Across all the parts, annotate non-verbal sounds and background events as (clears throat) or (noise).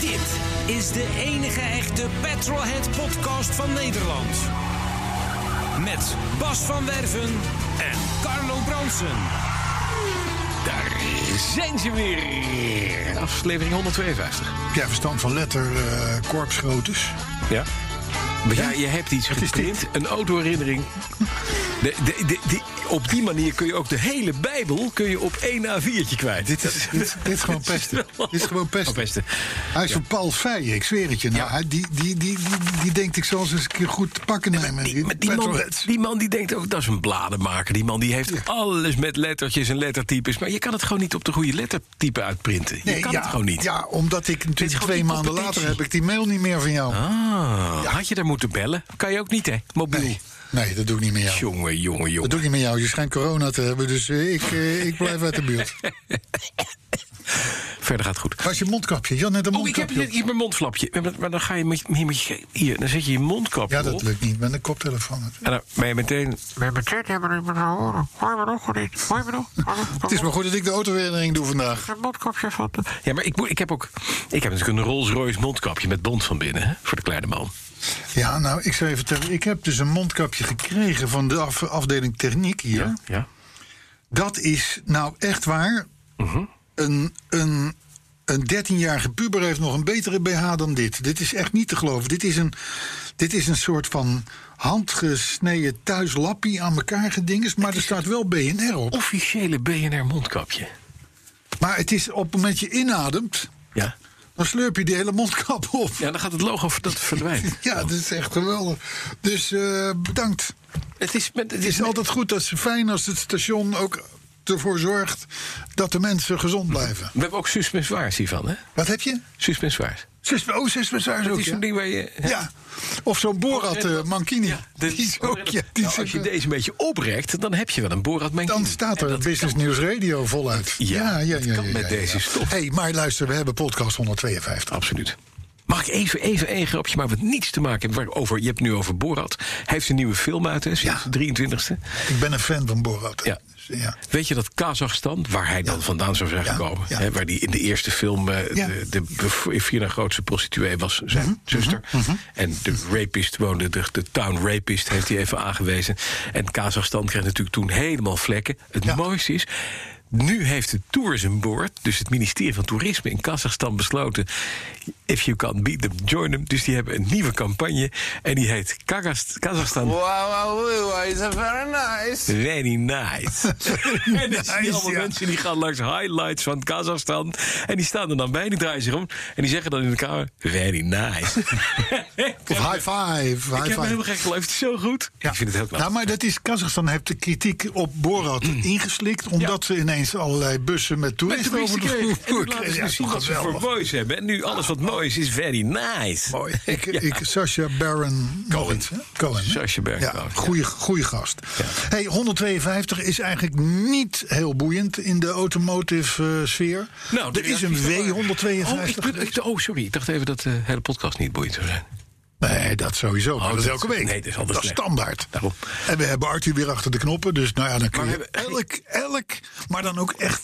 Dit is de enige echte Petrolhead podcast van Nederland. Met Bas van Werven en Carlo Bronsen. Daar zijn ze weer. Aflevering 152. Heb jij verstand van letter, eh, (laughs) korpsgroottes? Ja. Ja, je hebt iets is geprint, een autoherinnering. De, de, de, de- op die manier kun je ook de hele Bijbel kun je op één A4'tje kwijt. Dit is, dit, dit is (laughs) gewoon pesten. Dit is gewoon Oh, pesten. beste. Hij is van Paul Feijen, ik zweer het je. Nou, Ja. hij- die, die, die, die, die denkt ik zal ze eens een keer goed te pakken nemen. Die, maar die, man, petrolheads. die man die denkt ook, dat is een bladenmaker. Die man die heeft alles met lettertjes en lettertypes. Maar je kan het gewoon niet op de goede lettertype uitprinten. Je Nee, kan ja, het gewoon niet. Ja, omdat ik is natuurlijk gewoon twee die maanden later competitie. heb ik die mail niet meer van jou. Ah, had je daar moeten bellen? Kan je ook niet, hè? Mobiel. Nee, nee, dat doe ik niet meer jou. Jongen, jongen, jongen. Dat doe ik niet meer jou. Je schijnt corona te hebben, dus eh, ik, eh, ik blijf uit de (laughs) buurt. Verder gaat het goed. Als je mondkapje, je had net een Oh, ik heb mondkapje. net hier mijn mondflapje. Ja, Maar maar dan ga je met, hier, met je- hier, dan zet je je mondkapje ja, dat op. lukt niet met een koptelefoon. En dan ben je meteen... Nee, met dit hebben we niet meer gaan horen. Hoor je me nog of niet? Hoor je me nog? Het is maar goed dat ik de autoherinnering doe vandaag. een mondkapje van. de- Ja, maar ik, moet- ik heb ook... Ik heb natuurlijk een Rolls-Royce mondkapje met bont van binnen. Hè, voor de kleine man. Ja, nou, ik zou je vertellen. Ik heb dus een mondkapje gekregen van de af- afdeling techniek hier. Ja. Dat is nou echt waar. Mhm. Een, een, een 13-jarige puber heeft nog een betere BH dan dit. Dit is echt niet te geloven. Dit is een, dit is een soort van handgesneden thuislappie aan elkaar gedinges. Maar er staat wel BNR op. Officiële BNR mondkapje. Maar het is op het moment dat je inademt, Ja. dan slurp je die hele mondkap op. Ja, dan gaat het logo dat verdwijnt. (laughs) Ja, dat is echt geweldig. Dus eh, bedankt. Het is, met, (laughs) het Het is altijd goed, dat ze fijn als het station ook ervoor zorgt dat de mensen gezond blijven. We hebben ook suspensoirs hiervan, hè? Wat heb je? Suspensoirs. Zus, oh, zusbezwaar Dat ook, is ja? zo'n ding waar je... hè? ja. Of zo'n Borat eh, Mankini. Oh, Ja, (laughs) die is ook, ja. Die Nou, als is je ook- deze een beetje oprekt, dan heb je wel een borat dan staat er Business News Radio voluit. Ja, dat kan met deze stof. hey, maar luister, we hebben podcast 152. Absoluut. Mag ik even, even één grapje, maar wat niets te maken heeft. Over, je hebt het nu over Borat. Hij heeft een nieuwe film uit, hè, sinds Ja. de 23e. Ik ben een fan van Borat. Ja. Dus, ja. Weet je dat Kazachstan, waar hij dan vandaan zou zijn Ja, gekomen... ja. Hè, waar die in de eerste film eh, Ja. Mhm. de, de, de vier na grootste prostituee was, zijn zuster... en de rapist woonde, de, de town rapist heeft hij even aangewezen... en Kazachstan kreeg natuurlijk toen helemaal vlekken. Het Ja. mooiste is... Nu heeft het Tourism Board, dus het ministerie van Toerisme in Kazachstan, besloten. If you can beat them, join them. Dus die hebben een nieuwe campagne. En die heet Kazachst- Kazachstan Wow, wow, wow, it's a very nice. Very (laughs) nice. en dan zie Nice, je allemaal ja. mensen die gaan langs highlights van Kazachstan. En die staan er dan bij, die draaien zich om. En die zeggen dan in de kamer, very (laughs) nice. Of high five. ik High heb me five. helemaal gek geloofd, het is zo goed. Ik vind het heel knap. Mm. Nou, maar dat is Kazachstan heeft de kritiek op Borat ingeslikt. Omdat ze ineens allerlei bussen met Met toeristen toeristen over de kregen. vloer En toen laten ze Ja, zien wat ze geweldig. voor moois hebben. En nu alles wat mooi is, is very nice. (laughs) Mooi. Ik, ik, Sasha Baron Cohen. Cohen hè? Sasha Baron ja, Cohen, ja. Goeie, goeie gast. Hey, 152 is eigenlijk niet heel boeiend in de automotive eh, sfeer. Nou, de er is een reacties zijn waar. W152. Oh, ik, ben- ik- oh, sorry. Ik dacht even dat de hele podcast niet boeiend zou zijn. Nee, dat sowieso. Maar dat is Oh, dat- elke week. nee, dat is altijd slecht. standaard. Daarom. En we hebben Arthur weer achter de knoppen. Dus nou ja, dan kun Maar je we hebben- elk, elk, maar dan ook echt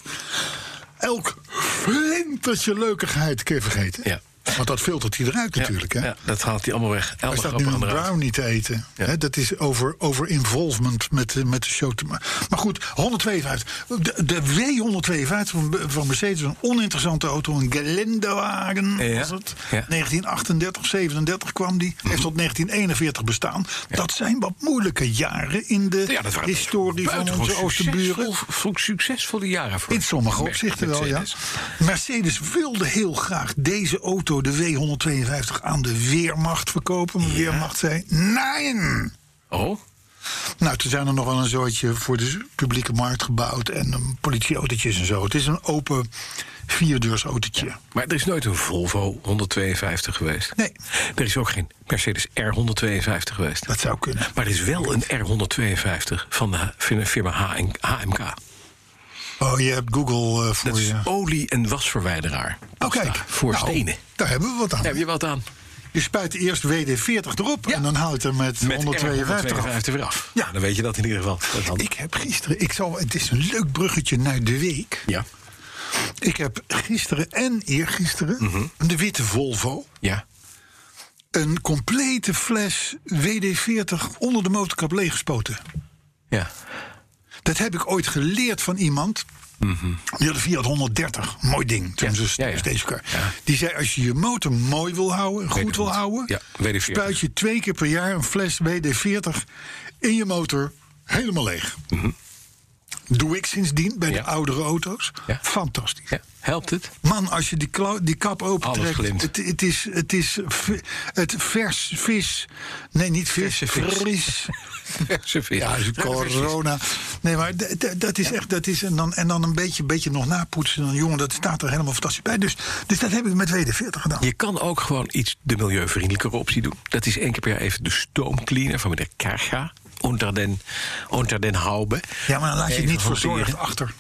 elk flintertje leukigheid kun je vergeten. Ja. Want dat filtert hij eruit natuurlijk. Ja, hè? ja, dat haalt hij allemaal weg. Hij Elke staat grap nu een aan de raad. brownie te eten. Ja. Hè, dat is over, over involvement met, de- met de show. te ma- maar goed, 152. De, de W152 van, van Mercedes is een oninteressante auto. Een Geländewagen Ja. was het. Ja. Mhm. 1938, 37 kwam die. Heeft tot 1941 bestaan. Dat zijn wat moeilijke jaren in de Ja, dat waren historie van buitengewoon onze Oosterburen. succesvol- Succesvolle jaren voor In sommige opzichten wel, ja. Mercedes. Mercedes wilde heel graag deze auto, de W152, aan de Weermacht verkopen. Maar de Weermacht zei: Nee! Oh, Nou, toen zijn er nog wel een zootje voor de publieke markt gebouwd. En um, politieautootjes en zo. Het is een open vierdeursautootje. Maar er is nooit een Volvo 152 geweest. Nee. Er is ook geen Mercedes R152 geweest. Dat zou kunnen. Maar er is wel een R152 van de firma- firma HMK. Oh, je hebt Google eh, voor Dat is je. olie- en wasverwijderaar. Oh, Pasta kijk. Voor Nou, stenen. Daar hebben we wat aan. Daar heb je wat aan. Je spuit eerst WD-40 erop en dan houdt er met, Met 152 af. weer af. Nou, Ja. Dan weet je dat in ieder geval. Dat dan- Ik heb gisteren, ik zal, het is een leuk bruggetje naar de week. Ja. Ik heb gisteren en eergisteren de witte Volvo Ja. een complete fles WD-40 onder de motorkap leeggespoten. Ja. Dat heb ik ooit geleerd van iemand. Die had een Fiat 130, mooi ding. Toen Mhm. Ja, ze ja, ja. steeds elkaar. Ja. Die zei: Als je je motor mooi wil houden, goed wil goed. houden, Ja, WD-40. spuit je twee keer per jaar een fles WD-40 in je motor helemaal leeg. Doe ik sindsdien bij Mhm. Ja. de oudere auto's. Ja. Fantastisch. ja. Helpt het? Man, als je die, klau- die kap Alles opentrekt, glimt. het, het is, het is v- het vers vis. Nee, niet vis, Verse vis. fris. Ja, Ja, dus corona. Nee, maar d- d- dat is echt, dat is, en dan, en dan een beetje, beetje nog napoetsen. Dan, jongen, dat staat er helemaal fantastisch bij. Dus, dus dat heb ik met WD-40 gedaan. Je kan ook gewoon iets de milieuvriendelijkere optie doen. Dat is één keer per jaar even de stoomcleaner van meneer Kerga. Onder den, onder den haube. Ja, maar dan laat je het Even niet verzorgd hanteren. achter.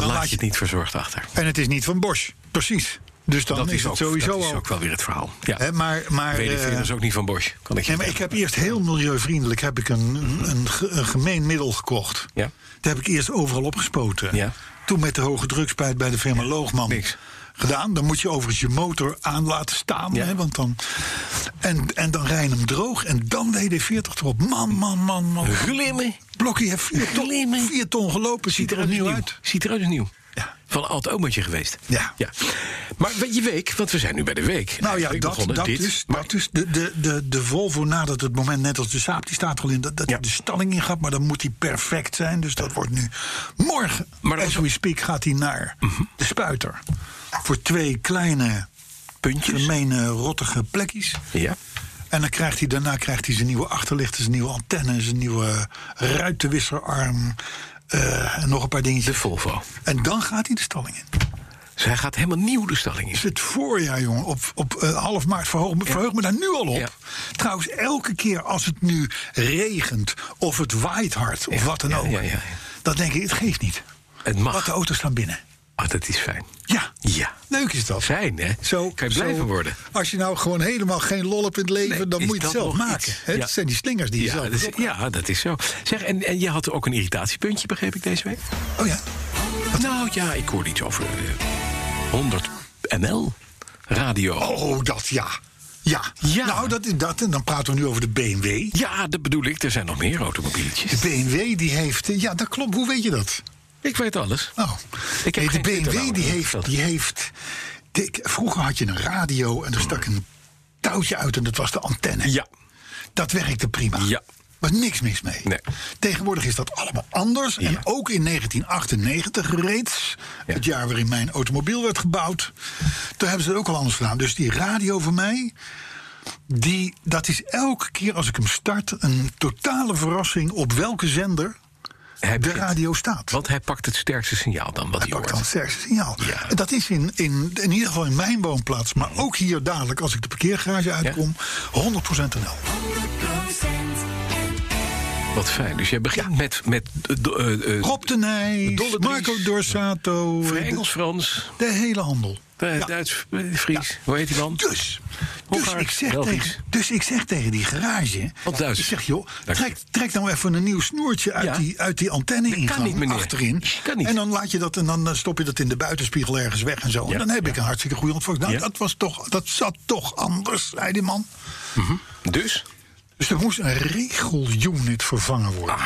Dan laat laat je je- het niet verzorgd achter. En het is niet van Bosch. Precies. Dus dan is, het ook, sowieso dat is al. ook wel weer het verhaal. Ja. Hè, maar, maar, WD-40 eh, is ook niet van Bosch. Kan ik je Nee, maar ik vertellen. heb eerst heel milieuvriendelijk heb ik een, een, ge- een gemeen middel gekocht. Mhm. Ja. Dat heb ik eerst overal opgespoten. Ja. Toen met de hoge drukspuit bij de firma Loogman niks. gedaan. Dan moet je overigens je motor aan laten staan. Ja. Hè, want dan, en, en dan rij je hem droog en dan WD-40 erop. Man, man, man, man. Glimmen. Blokkie heeft vier ton, Glimmen. vier ton gelopen. Ziet er Ziet opnieuw uit. Ziet eruit als nieuw. Ja. Van oud omaatje geweest. Ja. ja. Maar weet je week, want we zijn nu bij de week. Nou ja, Eigenlijk dat, begonnen dat, dus. dit, is, maar- dat is de, de, de, de Volvo nadat het moment, net als de Saab, die staat er al in, dat, dat Ja. de stalling in gaat. Maar dan moet die perfect zijn, dus dat wordt nu morgen. Maar as dat was- Mhm. we speak gaat hij naar de spuiter. Voor twee kleine, puntjes. gemene, rottige plekjes. Ja. En dan krijgt hij, daarna krijgt hij zijn nieuwe achterlichten, zijn nieuwe antennes, zijn nieuwe eh, ruitenwisserarm. eh, en nog een paar De dingetjes. Volvo. En dan gaat hij de stalling in. Dus hij gaat helemaal nieuw de stalling in. is het voorjaar, jongen. Op, op eh, half maart verhoog me, verheug me daar nu al op. Ja. Trouwens, elke keer als het nu regent of het waait hard of wat dan ja, ook, ja, ja, ja. dan denk ik, het geeft niet. Wat Het de mag. auto's staan binnen. Ah, dat is fijn. Ja, Ja. leuk is dat. Zijn, hè? Zo, kan je zo- blijven worden. Als je nou gewoon helemaal geen lol hebt in het leven, Nee, dan is moet je het dat zelf nog maken. iets? hè? Ja. Dat zijn die slingers die je Ja zelf dat, is, erop- ja, dat is zo. Zeg, en, en je had ook een irritatiepuntje, begreep ik, deze week? Oh ja. Nou ja, ik hoorde iets over eh, 100 ml radio. Oh, dat ja. Ja. Ja. Nou, dat is dat. En dan praten we nu over de BMW. Ja, dat bedoel ik. Er zijn nog meer automobieltjes. De BMW die heeft... eh, Ja, dat klopt. Hoe weet je dat? Ik weet alles. Oh. Ik heb Nee, geen de Twitter BMW die namelijk, heeft, dat- die heeft. die- ik- vroeger had je een radio en er stak een touwtje uit en dat was de antenne. Ja. Dat werkte prima. Ja. Was niks mis mee. Nee. Tegenwoordig is dat allemaal anders. En Ja. ook in 1998 reeds, Ja. het jaar waarin mijn automobiel werd gebouwd, toen hebben ze het ook al anders gedaan. Dus die radio voor mij, die, dat is elke keer als ik hem start een totale verrassing op welke zender Hij de begint. radio staat. Want hij pakt het sterkste signaal dan, wat hij, Hij pakt hoort. dan het sterkste signaal. Ja. En Dat is in, in, in ieder geval in mijn woonplaats, maar ook hier dadelijk als ik de parkeergarage uitkom, 100% NL. Wat fijn. Dus jij begint met, met eh, do- eh, eh, Rob de Nijs, Dolle Dries, Marco Dorsato, de, Engels, Frans, de hele handel. eh, Ja. Duits, eh, Fries. Hoe heet die man? Dus, dus, Hongaars, ik zeg Belgisch. tegen, dus ik zeg tegen die garage, Wat Duits. ik zeg joh, Dank je. trek, trek nou even een nieuw snoertje uit, Ja. die, uit die antenne kan niet, meneer. achterin. Kan niet. En dan laat je dat en dan eh, stop je dat in de buitenspiegel ergens weg en zo. Ja, En dan heb ja. ik een hartstikke goede ontvangst. Nou, Ja. dat was toch, dat zat toch anders, zei die man. Dus? Dus er moest een regelunit vervangen worden.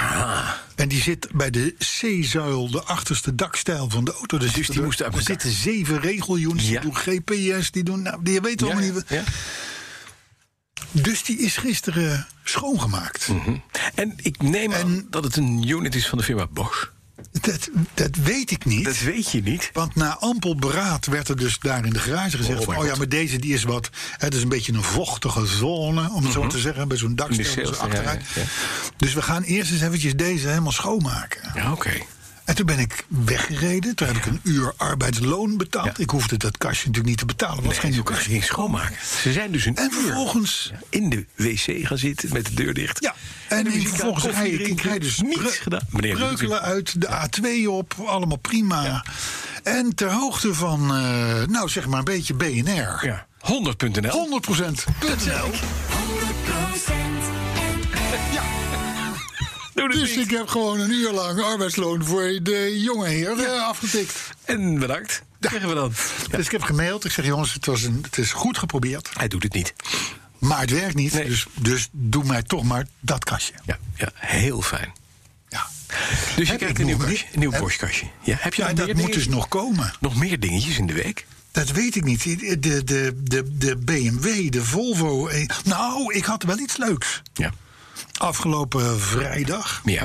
En die zit bij de C-zuil, de achterste dakstijl van de auto. Dus, die moesten uit er elkaar. zitten zeven regelunits. Ja. Die doen GPS, die doen. Nou, die weten allemaal niet. ja. Dus die is gisteren Hm. schoongemaakt. Mhm. En ik neem aan dat het een unit is van de firma Bosch. Het dat, dat weet ik niet. Dat weet je niet. Want na ampel beraad werd er dus daar in de garage gezegd: Oh, van, mijn oh ja, God. maar deze die is wat. Het is een beetje een vochtige zone, om het Mhm. zo maar te zeggen. Bij zo'n In de dakstel zo sales, ja, achteruit. ja, ja. Dus we gaan eerst eens eventjes deze helemaal schoonmaken. Ja, Oké. En toen ben ik weggereden. Toen heb ik een uur arbeidsloon betaald. Ja. Ik hoefde dat kastje natuurlijk niet te betalen. want Het was Nee, geen ze nieuw kunnen kastje. geen schoonmaken. Ze zijn dus een En uur vervolgens. in de wc gaan zitten met de deur dicht. Ja, en, de en muziek aan, vervolgens koffie rij ik, ik drinken, rijd dus niets breu- gedaan. Meneer, breukelen natuurlijk. uit de A2 op, allemaal prima. En ter hoogte van, eh, nou zeg maar een beetje BNR. Ja. 100.nl. 100 .nl. Doe het Dus niet. ik heb gewoon een uur lang arbeidsloon voor de jonge heer eh, afgetikt. En bedankt. Zeggen we dan. Ja, Dus ik heb gemaild. Ik zeg, jongens, het, was een, het is goed geprobeerd. Hij doet het niet. Maar het werkt niet. Nee. Dus, dus doe mij toch maar dat kastje. Ja, ja heel fijn. Ja. Dus je Heb krijgt ik een nieuw, nog kastje, niet. een nieuw Heb- borstkastje. Ja, heb je Ja, nog, dat meer moet dus dingetjes- nog komen. nog meer dingetjes in de week? Dat weet ik niet. De, de, de, de BMW, de Volvo. eh, Nou, ik had wel iets leuks. Ja. Afgelopen vrijdag Ja.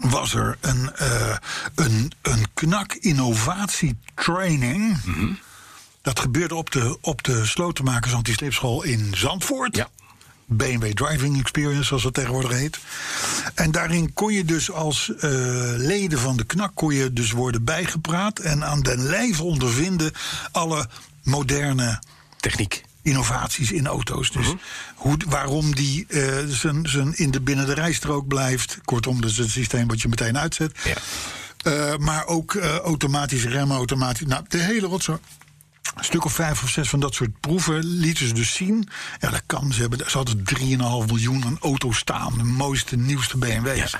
was er een, eh, een, een knak innovatietraining. Dat gebeurde op de, op de Slotenmakers Antisleepschool in Zandvoort. Ja. BMW Driving Experience, zoals dat tegenwoordig heet. En daarin kon je dus als eh, leden van de knak kon je dus worden bijgepraat... en aan den lijf ondervinden alle moderne Techniek. innovaties in auto's. Dus Mhm. hoe, waarom die eh, zijn zijn in de binnen de rijstrook blijft. Kortom, dat is het systeem wat je meteen uitzet. Ja. Eh, maar ook eh, automatische remmen, automatisch. Nou, de hele rotzooi. Een stuk of vijf of zes van dat soort proeven lieten ze dus zien. Ja, dat kan. Ze, hebben, ze hadden 3,5 miljoen aan auto's staan. De mooiste, nieuwste BMW's. Ja.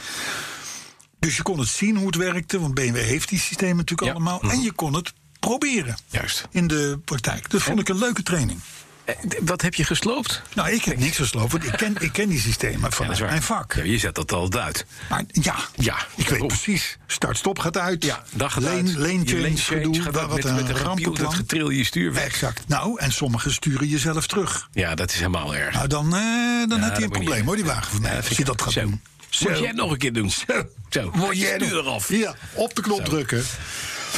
Dus je kon het zien hoe het werkte. Want BMW heeft die systemen natuurlijk Ja. Mhm. allemaal. En je kon het proberen. Juist. In de praktijk. Dat vond ik een leuke training. Eh, d- Wat heb je gesloopt? Nou, ik heb niks gesloopt, want ik ken, ik ken die systemen Ja, dat vanuit is waar. mijn vak. Ja, je zet dat al uit. Maar ja, Ja, ik weet daarom. precies. Start-stop gaat uit. Ja, dag gaat Lane- uit. lane Je change lane gedoe, gaat wat eh, uit met, een met de gepiel, dat rampenplan. getril je stuur weg. Exact. Nou, en sommigen sturen jezelf terug. Ja, dat is helemaal erg. Nou, dan, eh, dan Ja, heb je dat een moet je probleem niet. hoor, die wagen van mij. Ja, als vind je ik- dat gaat zo. doen. Moet jij het nog een keer doen. Zo. Word jij Stuur nog- eraf. Ja, op de knop drukken.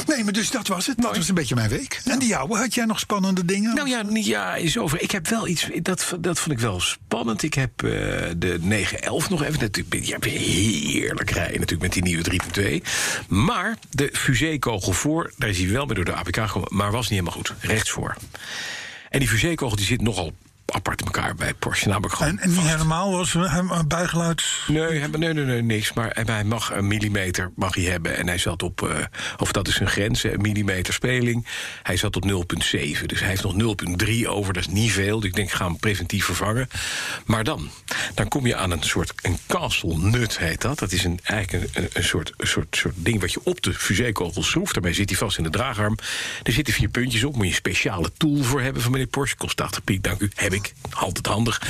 Nee, maar dus dat was het. Dat was een beetje mijn week. En die jouwe, had jij nog spannende dingen? Nou ja, niet- ja, is over. Ik heb wel iets, dat, dat vond ik wel spannend. Ik heb eh, de 911 nog even, natuurlijk, ja, heerlijk rijden natuurlijk met die nieuwe 3.2. Maar de fusékogel voor, daar is hij wel mee door de APK gekomen, maar was niet helemaal goed. Rechts voor. En die fusékogel die zit nogal apart in elkaar bij Porsche. Namelijk gewoon en, en niet helemaal was hem een bijgeluid. Nee, hij- nee, nee, nee, niks. Maar hij mag een millimeter mag hij hebben. En hij zat op, eh, of dat is een grens, hè, een millimeter speling. Hij zat op 0,7. Dus hij heeft nog 0,3 over. Dat is niet veel. Dus ik denk, ik ga hem preventief vervangen. Maar dan, dan kom je aan een soort een castle nut, heet dat. Dat is een, eigenlijk een, een, een soort, een soort, soort ding wat je op de fusékogel schroeft. Daarmee zit hij vast in de draagarm. Er zitten vier puntjes op. Moet je een speciale tool voor hebben van meneer Porsche. Kost 80 piek, dank u. Heb ik. Altijd handig.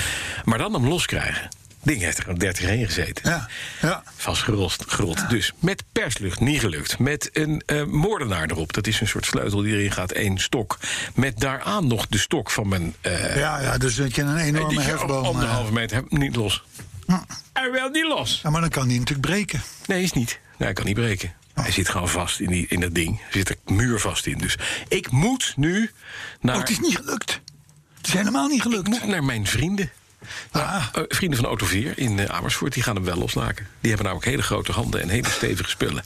Maar dan hem loskrijgen. Ding heeft er gewoon 30 heen gezeten. Ja, ja. Vastgerost, grot. Dus met perslucht, niet gelukt. Met een eh, moordenaar erop. Dat is een soort sleutel die erin gaat, één stok. Met daaraan nog de stok van mijn... eh Ja, ja, dus dat je een die enorme ik hefboom... eh, anderhalve meter heb, niet los. Hij wil niet los. ja, maar dan kan die natuurlijk breken. Oh, Nee, is niet. Nee, hij kan niet breken. Hij zit gewoon vast in, die, in dat ding. Er zit een muur vast in. Dus ik moet nu naar... Oh, het is niet gelukt. Het is helemaal niet Ik gelukt. moet naar mijn vrienden. Ah. Eh, vrienden van Auto 4 in eh, Amersfoort, die gaan hem wel loslaken. Die hebben namelijk hele grote handen en hele stevige spullen.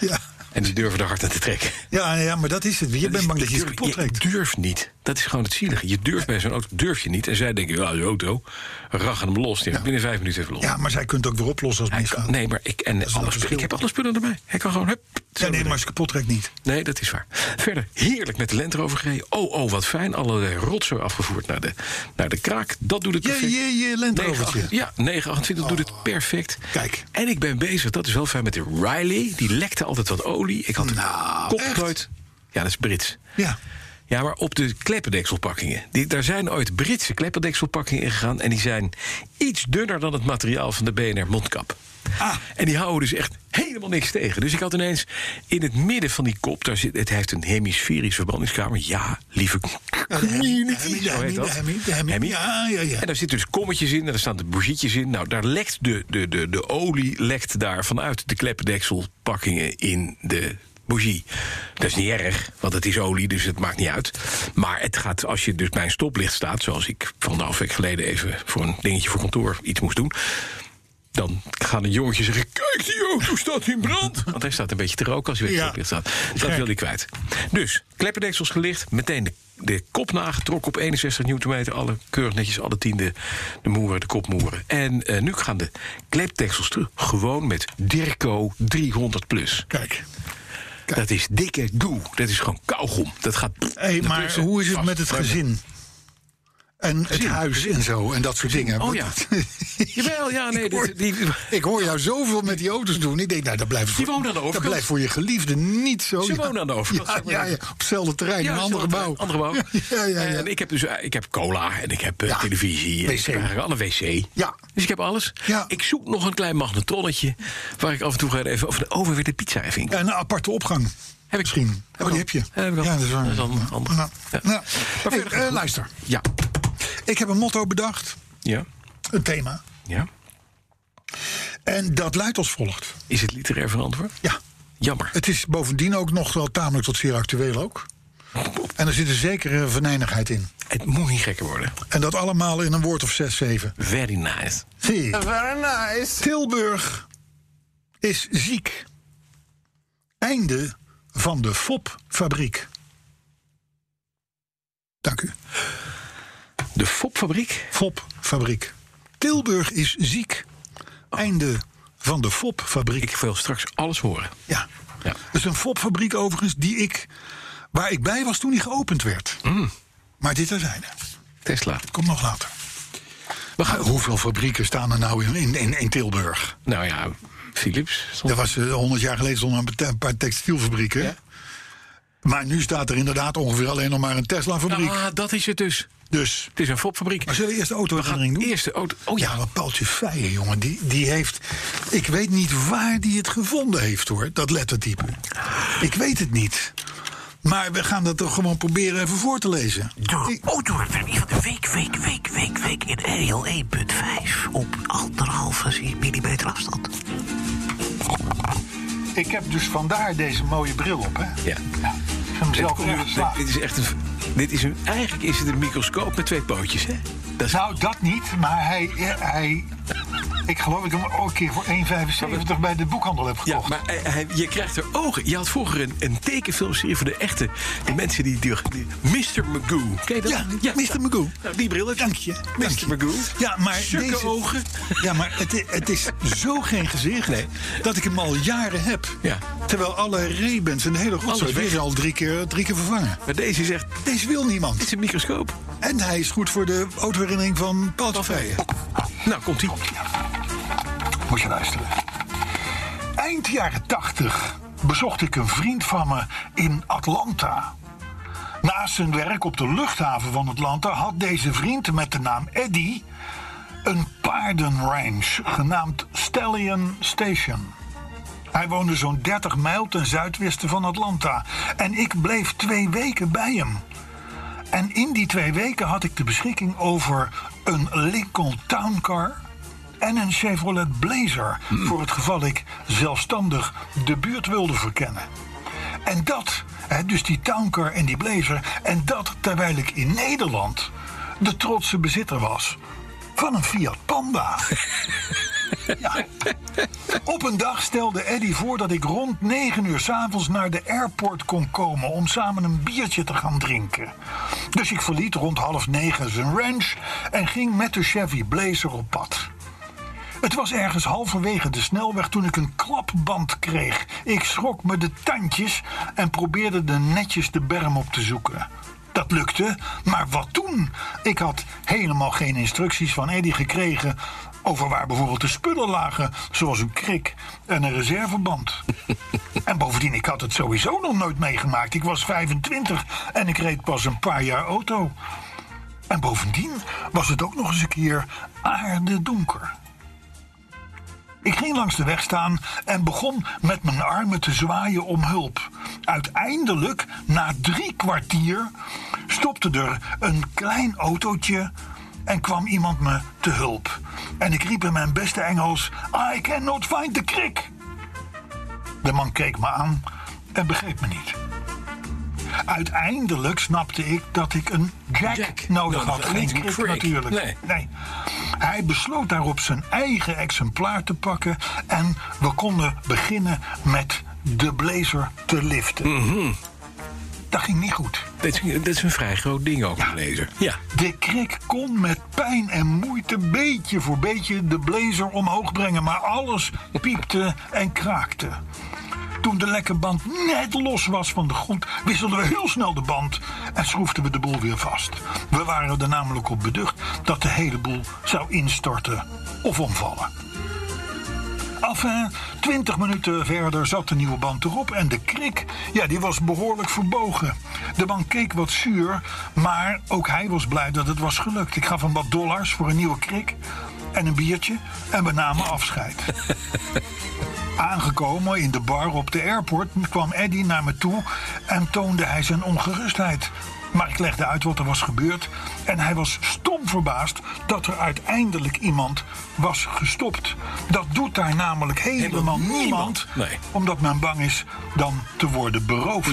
Ja. En die durven er hard aan te trekken. Ja, ja, maar dat is het. Je bent is- bang dat je het durf- kapot trekt. durft niet. Dat is gewoon het zielige. Je durft bij zo'n auto, durf je niet. En zij denken, ja, die auto, rachen hem los. Die heeft binnen vijf minuten even los. Ja, maar zij kunt het ook weer oplossen als het Hij kan- misgaat. nee, maar ik, en is wel alle het spullen, verschil. ik heb alle spullen erbij. Hij kan gewoon, hup. zo Ja, nee, erin. maar als je kapot trekt niet. Nee, dat is waar. Verder, heerlijk met de Land Rover gereden. Oh, oh, wat fijn. Alle rotzooi afgevoerd naar de, naar de kraak. Dat doet het Je- perfect. je- je Land 928 Rovertje. Ja, 928 doet het perfect. Oh. Kijk. En ik ben bezig, dat is wel fijn, met de Riley. Die lekte altijd wat olie. Ik had een Nou, kop echt? nooit. Ja, dat is Brits. Ja. Ja, maar op de kleppendekselpakkingen. Die, daar zijn ooit Britse kleppendekselpakkingen ingegaan... en die zijn iets dunner dan het materiaal van de BNR mondkap. Ah. En die houden dus echt helemaal niks tegen. Dus ik had ineens in het midden van die kop, daar zit, het heeft een hemisferische verbrandingskamer. Ja, lieve community, zo heet dat. Hemmy, de Hemmy. Hemmy. Ja, ja, ja. En daar zitten dus kommetjes in, en daar staan de bougietjes in. Nou, daar lekt de, de, de, de olie lekt daar vanuit de kleppendekselpakkingen in de bougie. Dat is niet erg, want het is olie, dus het maakt niet uit. Maar het gaat, als je dus bij een stoplicht staat, zoals ik van een week geleden even voor een dingetje voor kantoor iets moest doen. Dan gaan de jongetjes zeggen: Kijk, die auto staat in brand. (laughs) Want hij staat een beetje te roken als hij weer Ja. stoplicht staat. Dat wil hij kwijt. Dus, kleppendeksels gelicht. Meteen de, de kop nagetrokken op 61 newtonmeter. Alle keurig netjes, alle tiende de moeren, de kopmoeren. En eh, nu gaan de klepdeksels terug. Gewoon met Dirco 300 plus. Kijk. Dat is dikke doe. Dat is gewoon kauwgom. Dat gaat... Hey, maar ertussen. hoe is het Vast. met het gezin? En het huis en zo en dat soort dingen. Oh Want ja. dat- (laughs) Jawel, ja, nee. Ik hoor- dit- die, Ik hoor jou zoveel met die auto's doen. Ik denk, nou, dat blijft Die voor, wonen aan de overkant. Dat blijft voor je geliefde niet zo. Ze Ja. wonen aan de overkant, Ja, zeg maar. ja, ja, op hetzelfde terrein, een ander zo'n gebouw. Ander gebouw. (laughs) Ja, ja, ja. En ik heb dus eh, ik heb cola en ik heb eh, Ja. televisie. En ik WC. heb eigenlijk alle wc. Ja. Dus ik heb alles. Ja. Ik zoek nog een klein magnetronnetje waar ik af en toe ga even over de over weer de pizza even in. Ja, een aparte opgang. ik. Misschien. oh, die Heb ik al. heb je. Ja, heb ik al. dat is waar. Dat is dan een ander. Nou, Ja. nou. Maar Hey, verder eh, gaat het. luister, Ja. ik heb een motto bedacht. Ja. Een thema. Ja. En dat luidt als volgt. Is het literair verantwoord? Ja, Jammer. het is bovendien ook nog wel tamelijk tot zeer actueel ook. En er zit een zekere venijnigheid in. Het moet niet gekker worden. En dat allemaal in een woord of zes, zeven. Very nice. Zie. Very nice. Tilburg is ziek. Einde van de FOP-fabriek. Dank u. De fopfabriek. FOP-fabriek. Tilburg is ziek. Einde van de FOP-fabriek. Ik wil straks alles horen. Ja. Ja. Het is een FOP-fabriek overigens die ik, waar ik bij was toen die geopend werd. Mm. Maar dit terzijde. Tesla. Komt nog later. We gaan. Hoeveel fabrieken staan er nou in, in, in, in Tilburg? Nou ja, Philips. Ah, Er was eh, 100 jaar geleden stonden er een te- een paar textielfabrieken. Maar nu staat er inderdaad ongeveer alleen nog maar een Tesla-fabriek. Ah, dat is het dus. Dus. Het is een fopfabriek. Nou, Maar zullen we eerst de auto gaan doen? eerst de auto. Oh Ja, ja, maar Paaltje Feijen, jongen, die, die heeft... Ik weet niet waar die het gevonden heeft, hoor, dat lettertype. Ik weet het niet. Maar we gaan dat toch gewoon proberen even voor te lezen. Door Ik- autoverwerking van de week, week, week, week, week in RL 1.5 op anderhalve millimeter afstand. Ik heb dus vandaar deze mooie bril op, hè. Ja. Ik heb hem Dit, zelf komt- dit, geslagen. dit is echt een. Dit is een, eigenlijk is het een microscoop met twee pootjes, hè? Dat is, Nou, dat niet, maar hij... hij ik geloof dat ik hem ook een keer voor 1,75 bij de boekhandel heb ja, gekocht. maar hij- hij- je krijgt er ogen. Je had vroeger een, een tekenfilmserie voor de echte. De mensen die. die, die- Mr. Magoo. Ken je dat? Ja, Mr. Magoo. Nou, die bril heb je. Dank je. dank je. Mr. Magoo. Ja, maar Zulke deze... ogen. Ja, maar het, i- het is zo geen gezicht Nee. dat ik hem al jaren heb. Ja. Terwijl alle Rebens en de hele Alles rotzooi weg. weer al drie keer, drie keer vervangen. Maar deze is echt. Dit Deze wil niemand. is een microscoop. En hij is goed voor de autoherinnering van Paul Tafeyen. Nou, komt ie. Moet je luisteren. Eind jaren 80 bezocht ik een vriend van me in Atlanta. Naast zijn werk op de luchthaven van Atlanta had deze vriend met de naam Eddie een paardenrange genaamd Stallion Station. Hij woonde zo'n 30 mijl ten zuidwesten van Atlanta en ik bleef twee weken bij hem. En in die twee weken had ik de beschikking over een Lincoln Town Car en een Chevrolet Blazer. Voor het geval ik zelfstandig de buurt wilde verkennen. En dat, hè, dus die Towncar en die Blazer, en dat terwijl ik in Nederland de trotse bezitter was van een Fiat Panda. ja. Op een dag stelde Eddie voor dat ik rond 9 uur s'avonds naar de airport kon komen om samen een biertje te gaan drinken. Dus ik verliet rond half negen zijn ranch en ging met de Chevy Blazer op pad. Het was ergens halverwege de snelweg toen ik een klapband kreeg. Ik schrok me de tandjes en probeerde de netjes de berm op te zoeken. Dat lukte, maar wat toen? Ik had helemaal geen instructies van Eddie gekregen over waar bijvoorbeeld de spullen lagen, zoals een krik en een reserveband. En bovendien, ik had het sowieso nog nooit meegemaakt. Ik was 25 en ik reed pas een paar jaar auto. En bovendien was het ook nog eens een keer aarde donker. Ik ging langs de weg staan en begon met mijn armen te zwaaien om hulp. Uiteindelijk, na drie kwartier, stopte er een klein autootje en kwam iemand me te hulp. En ik riep in mijn beste Engels: I cannot find the crick. De man keek me aan en begreep me niet. Uiteindelijk snapte ik dat ik een jack, Jack. nodig Nou, had. geen Geen krik crick. natuurlijk. Nee. Hij besloot daarop zijn eigen exemplaar te pakken. En we konden beginnen met de blazer te liften. Mhm. Dat ging niet goed. Dat is, dat is een vrij groot ding ook, een laser. Ja. De krik kon met pijn en moeite beetje voor beetje de blazer omhoog brengen, maar alles piepte en kraakte. Toen de lekke band net los was van de grond, wisselden we heel snel de band en schroefden we de boel weer vast. We waren er namelijk op beducht dat de hele boel zou instorten of omvallen. Enfin, 20 minuten verder zat de nieuwe band erop en de krik, ja, die was behoorlijk verbogen. De man keek wat zuur, maar ook hij was blij dat het was gelukt. Ik gaf hem wat dollars voor een nieuwe krik en een biertje en we namen afscheid. Aangekomen in de bar op de airport kwam Eddie naar me toe en toonde hij zijn ongerustheid. Maar ik legde uit wat er was gebeurd en hij was stom verbaasd dat er uiteindelijk iemand was gestopt. Dat doet daar namelijk helemaal Helemaal niemand, niemand. Nee. omdat men bang is dan te worden beroofd.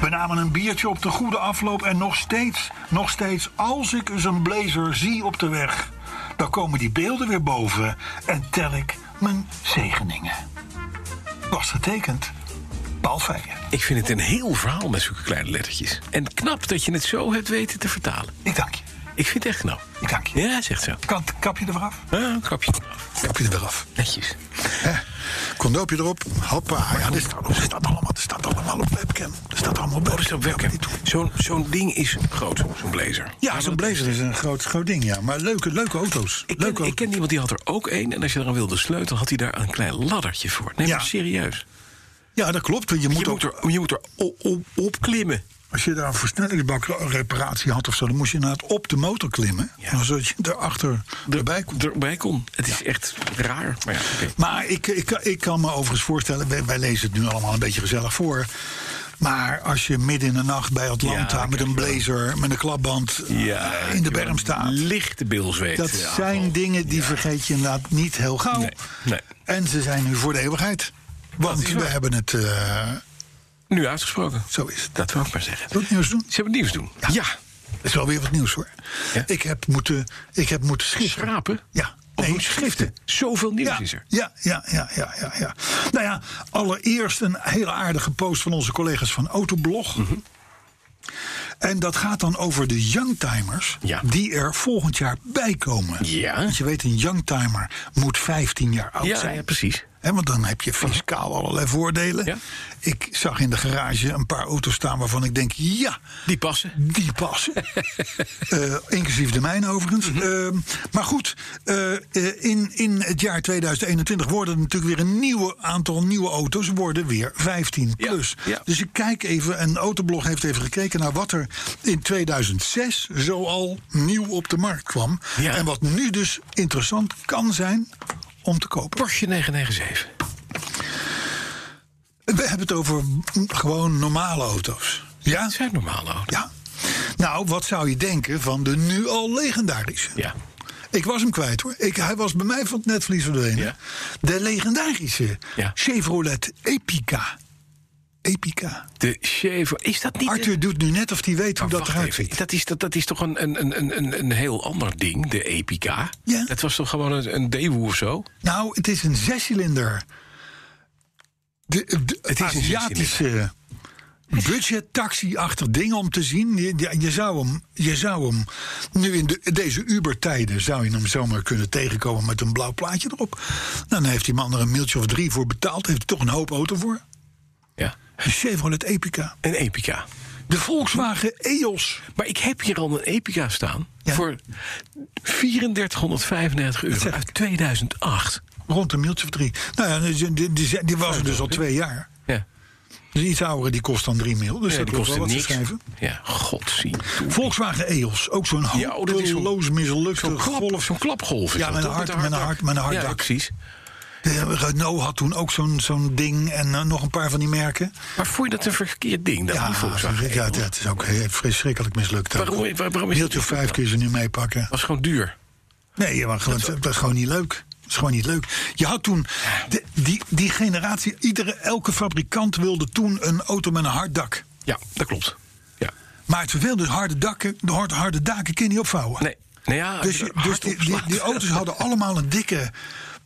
We namen een biertje op de goede afloop en nog steeds, nog steeds, als ik eens een blazer zie op de weg, dan komen die beelden weer boven en tel ik mijn zegeningen. Was getekend, Paul Feijen. Ik vind het een heel verhaal met zulke kleine lettertjes. En knap dat je het zo hebt weten te vertalen. Ik dank je. Ik vind het echt knap. Ik dank je. Ja, zegt zo. Kan, kap je er af? Ah, een kapje eraf. Kap je er weer af. Netjes. Condoopje erop. Hoppa. Ja, dit, oh, dit staat allemaal, dit staat allemaal op webcam. Dit staat allemaal Oh, dat is op webcam. Zo'n zo'n ding is groot, zo'n blazer. Ja, zo'n blazer is een groot, groot ding, ja. Maar leuke, leuke auto's. Ik leuke ken, ik auto's. ken iemand die had er ook één. En als je eraan wilde sleutelen, had hij daar een klein laddertje voor. Nee, Ja. maar serieus. Ja, dat klopt. want Je moet Je ook moet er, je moet er o- o- op klimmen. Als je daar een versnellingsbakreparatie had of zo, dan moest je inderdaad op de motor klimmen. Nou, Ja. Zodat je daarachter erbij komt. Erbij kon. Het is echt raar. Maar ja, oké. Maar ik, ik, ik kan me overigens voorstellen, wij, wij lezen het nu allemaal een beetje gezellig voor. Maar als je midden in de nacht bij Atlanta Ja, met een blazer, met een klapband eh, in de berm staat. Lichte bilzweet. Dat Ja, zijn dingen die vergeet je inderdaad niet heel gauw. Nee, nee. En ze zijn nu voor de eeuwigheid. Want is we waar. hebben het, eh, Nu uitgesproken. zo is het. Dat wil ik maar zeggen. Wil je het nieuws doen? Ze hebben nieuws doen. Ja. Dat is wel weer wat nieuws hoor. Ja? Ik, heb moeten, ik heb moeten schiften. Schrapen? Ja. Of Nee, moet je schiften. Zoveel nieuws Ja, is er. ja, ja, ja, ja, ja, ja. Nou ja, allereerst een hele aardige post van onze collega's van Autoblog. Mhm. En dat gaat dan over de youngtimers Ja. die er volgend jaar bij komen. Ja. Want je weet, een youngtimer moet 15 jaar oud Ja, zijn. ja, precies. Hè, want dan heb je fiscaal allerlei voordelen. Ja. Ik zag in de garage een paar auto's staan waarvan ik denk, ja, Die passen. die (laughs) passen. Eh, inclusief de mijne overigens. Mhm. Eh, maar goed, eh, eh, in, in het jaar 2021 worden er natuurlijk weer een nieuwe aantal nieuwe auto's worden weer 15 Ja, plus. ja. Dus ik kijk even, en Autoblog heeft even gekeken naar wat er in 2006 zoal nieuw op de markt kwam. Ja. En wat nu dus interessant kan zijn om te kopen. Porsche 997. We hebben het over gewoon normale auto's. Ja? Dat zijn normale auto's. Ja. Nou, wat zou je denken van de nu al legendarische? Ja. Ik was hem kwijt hoor. Ik, hij was bij mij van het netvlies verdwenen. Ja. De legendarische Ja. Chevrolet Epica. Epica. De Chevrolet. Is dat niet... Arthur doet nu net of hij weet hoe Maar dat Oh, wacht eruit even, ziet. Dat is, dat, dat is toch een, een, een- een, een, een heel ander ding, de Epica? Ja. Dat was toch gewoon een, een Daewoo of zo? Nou, het is een zescilinder. De, de Het is een Aziatische budgettaxi-achtig ding om te zien. Je, je- je zou hem, je zou hem nu in de, deze Uber-tijden zou je hem zomaar kunnen tegenkomen met een blauw plaatje erop. Nou, dan heeft die man er een mailtje of drie voor betaald. Heeft hij toch een hoop auto voor? Ja. Een Chevrolet Epica. E Een E Epica. De Volkswagen EOS. Maar ik heb hier al een Epica staan Ja. voor 3495 euro zeg uit 2008. Rond een mailtje of drie. Nou ja, die, die, die, die was er dus al twee jaar. Ja. Dus een iets oudere, die kost dan 3 mil. Dus Ja, dat die kost kostte wel wat te niks. schrijven. Ja, godzien. Volkswagen EOS, ook zo'n Ja, oh, dat is zo'n- hopeloos Zo'n mislukte klap, golf. zo'n klapgolf. is Ja, dat, met een toch? hard- met een hard- met een hard Ja, dak. precies. De Renault had toen ook zo'n zo'n ding en eh, nog een paar van die merken. Maar vond je dat een verkeerd ding, dat Ja, die Volkswagen? E ja, dat is ook heel verschrikkelijk mislukt. ook. Waarom, waar- waarom is dat? Deeltje 5 kun je ze nu meepakken. was gewoon duur. Nee, maar gewoon, dat is gewoon niet leuk. Dat is gewoon niet leuk. Je had toen de- die, die generatie, iedere, elke fabrikant wilde toen een auto met een hard dak. Ja, dat klopt. Ja. Maar het verveelde, harde dakken, de harde, harde daken kun je niet opvouwen. Nee. Nou ja, Dus, als je- je er dus hard die, op die, slaat- die auto's hadden allemaal een dikke,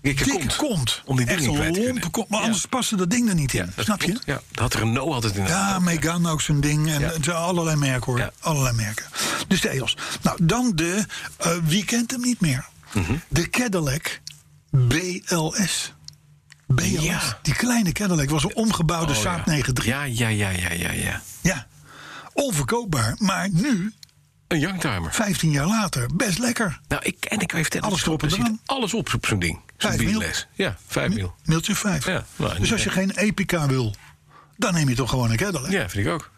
Dikke dikke, kont. kont. Om die Echt dingen kwijt te een kunnen. lompe kont. Maar Ja. anders paste dat ding er niet in. Ja, dat snap je? klopt. Ja, dat had Renault altijd in de Ja, Megane ook zo'n ding. En Ja. het zijn allerlei merken hoor. Ja. Allerlei merken. Dus de EOS. Nou, dan de, eh, wie kent hem niet meer? Mhm. De Cadillac BLS. BLS. Ja. Die kleine Cadillac was een omgebouwde Oh, Saab ja. 93. Ja. Ja, ja, ja, ja, ja, ja. Onverkoopbaar, maar nu, Een youngtimer. 15 jaar later, best lekker. Nou, ik, en ik kan je vertellen... Alles erop en er zit eraan. Alles op op zo'n ding. Zo'n Vijf mil. biles. Ja, vijf mil. Miltje 5. Ja, nou, dus als je geen EPK wil, dan neem je toch gewoon een Cadillac. Ja, vind ik ook.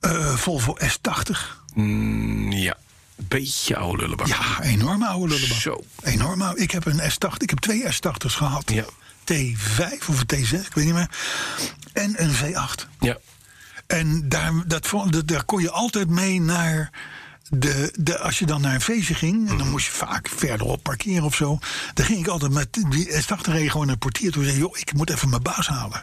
Eh, Volvo S80. Mm, ja, beetje oude lullenbak. Ja, enorm oude lullenbak. Zo. Enorm oude. Ik heb een S80, ik heb twee S80's gehad. Ja. T5 of een T6, ik weet niet meer. En een V8. Ja. En daar, dat, vond- dat- daar kon je altijd mee naar. De, de, als je dan naar een feestje ging, en Mhm. dan moest je vaak verderop parkeren of zo. Dan ging ik altijd met die S80 reden gewoon naar de portier toe en zei: joh, ik moet even mijn baas halen.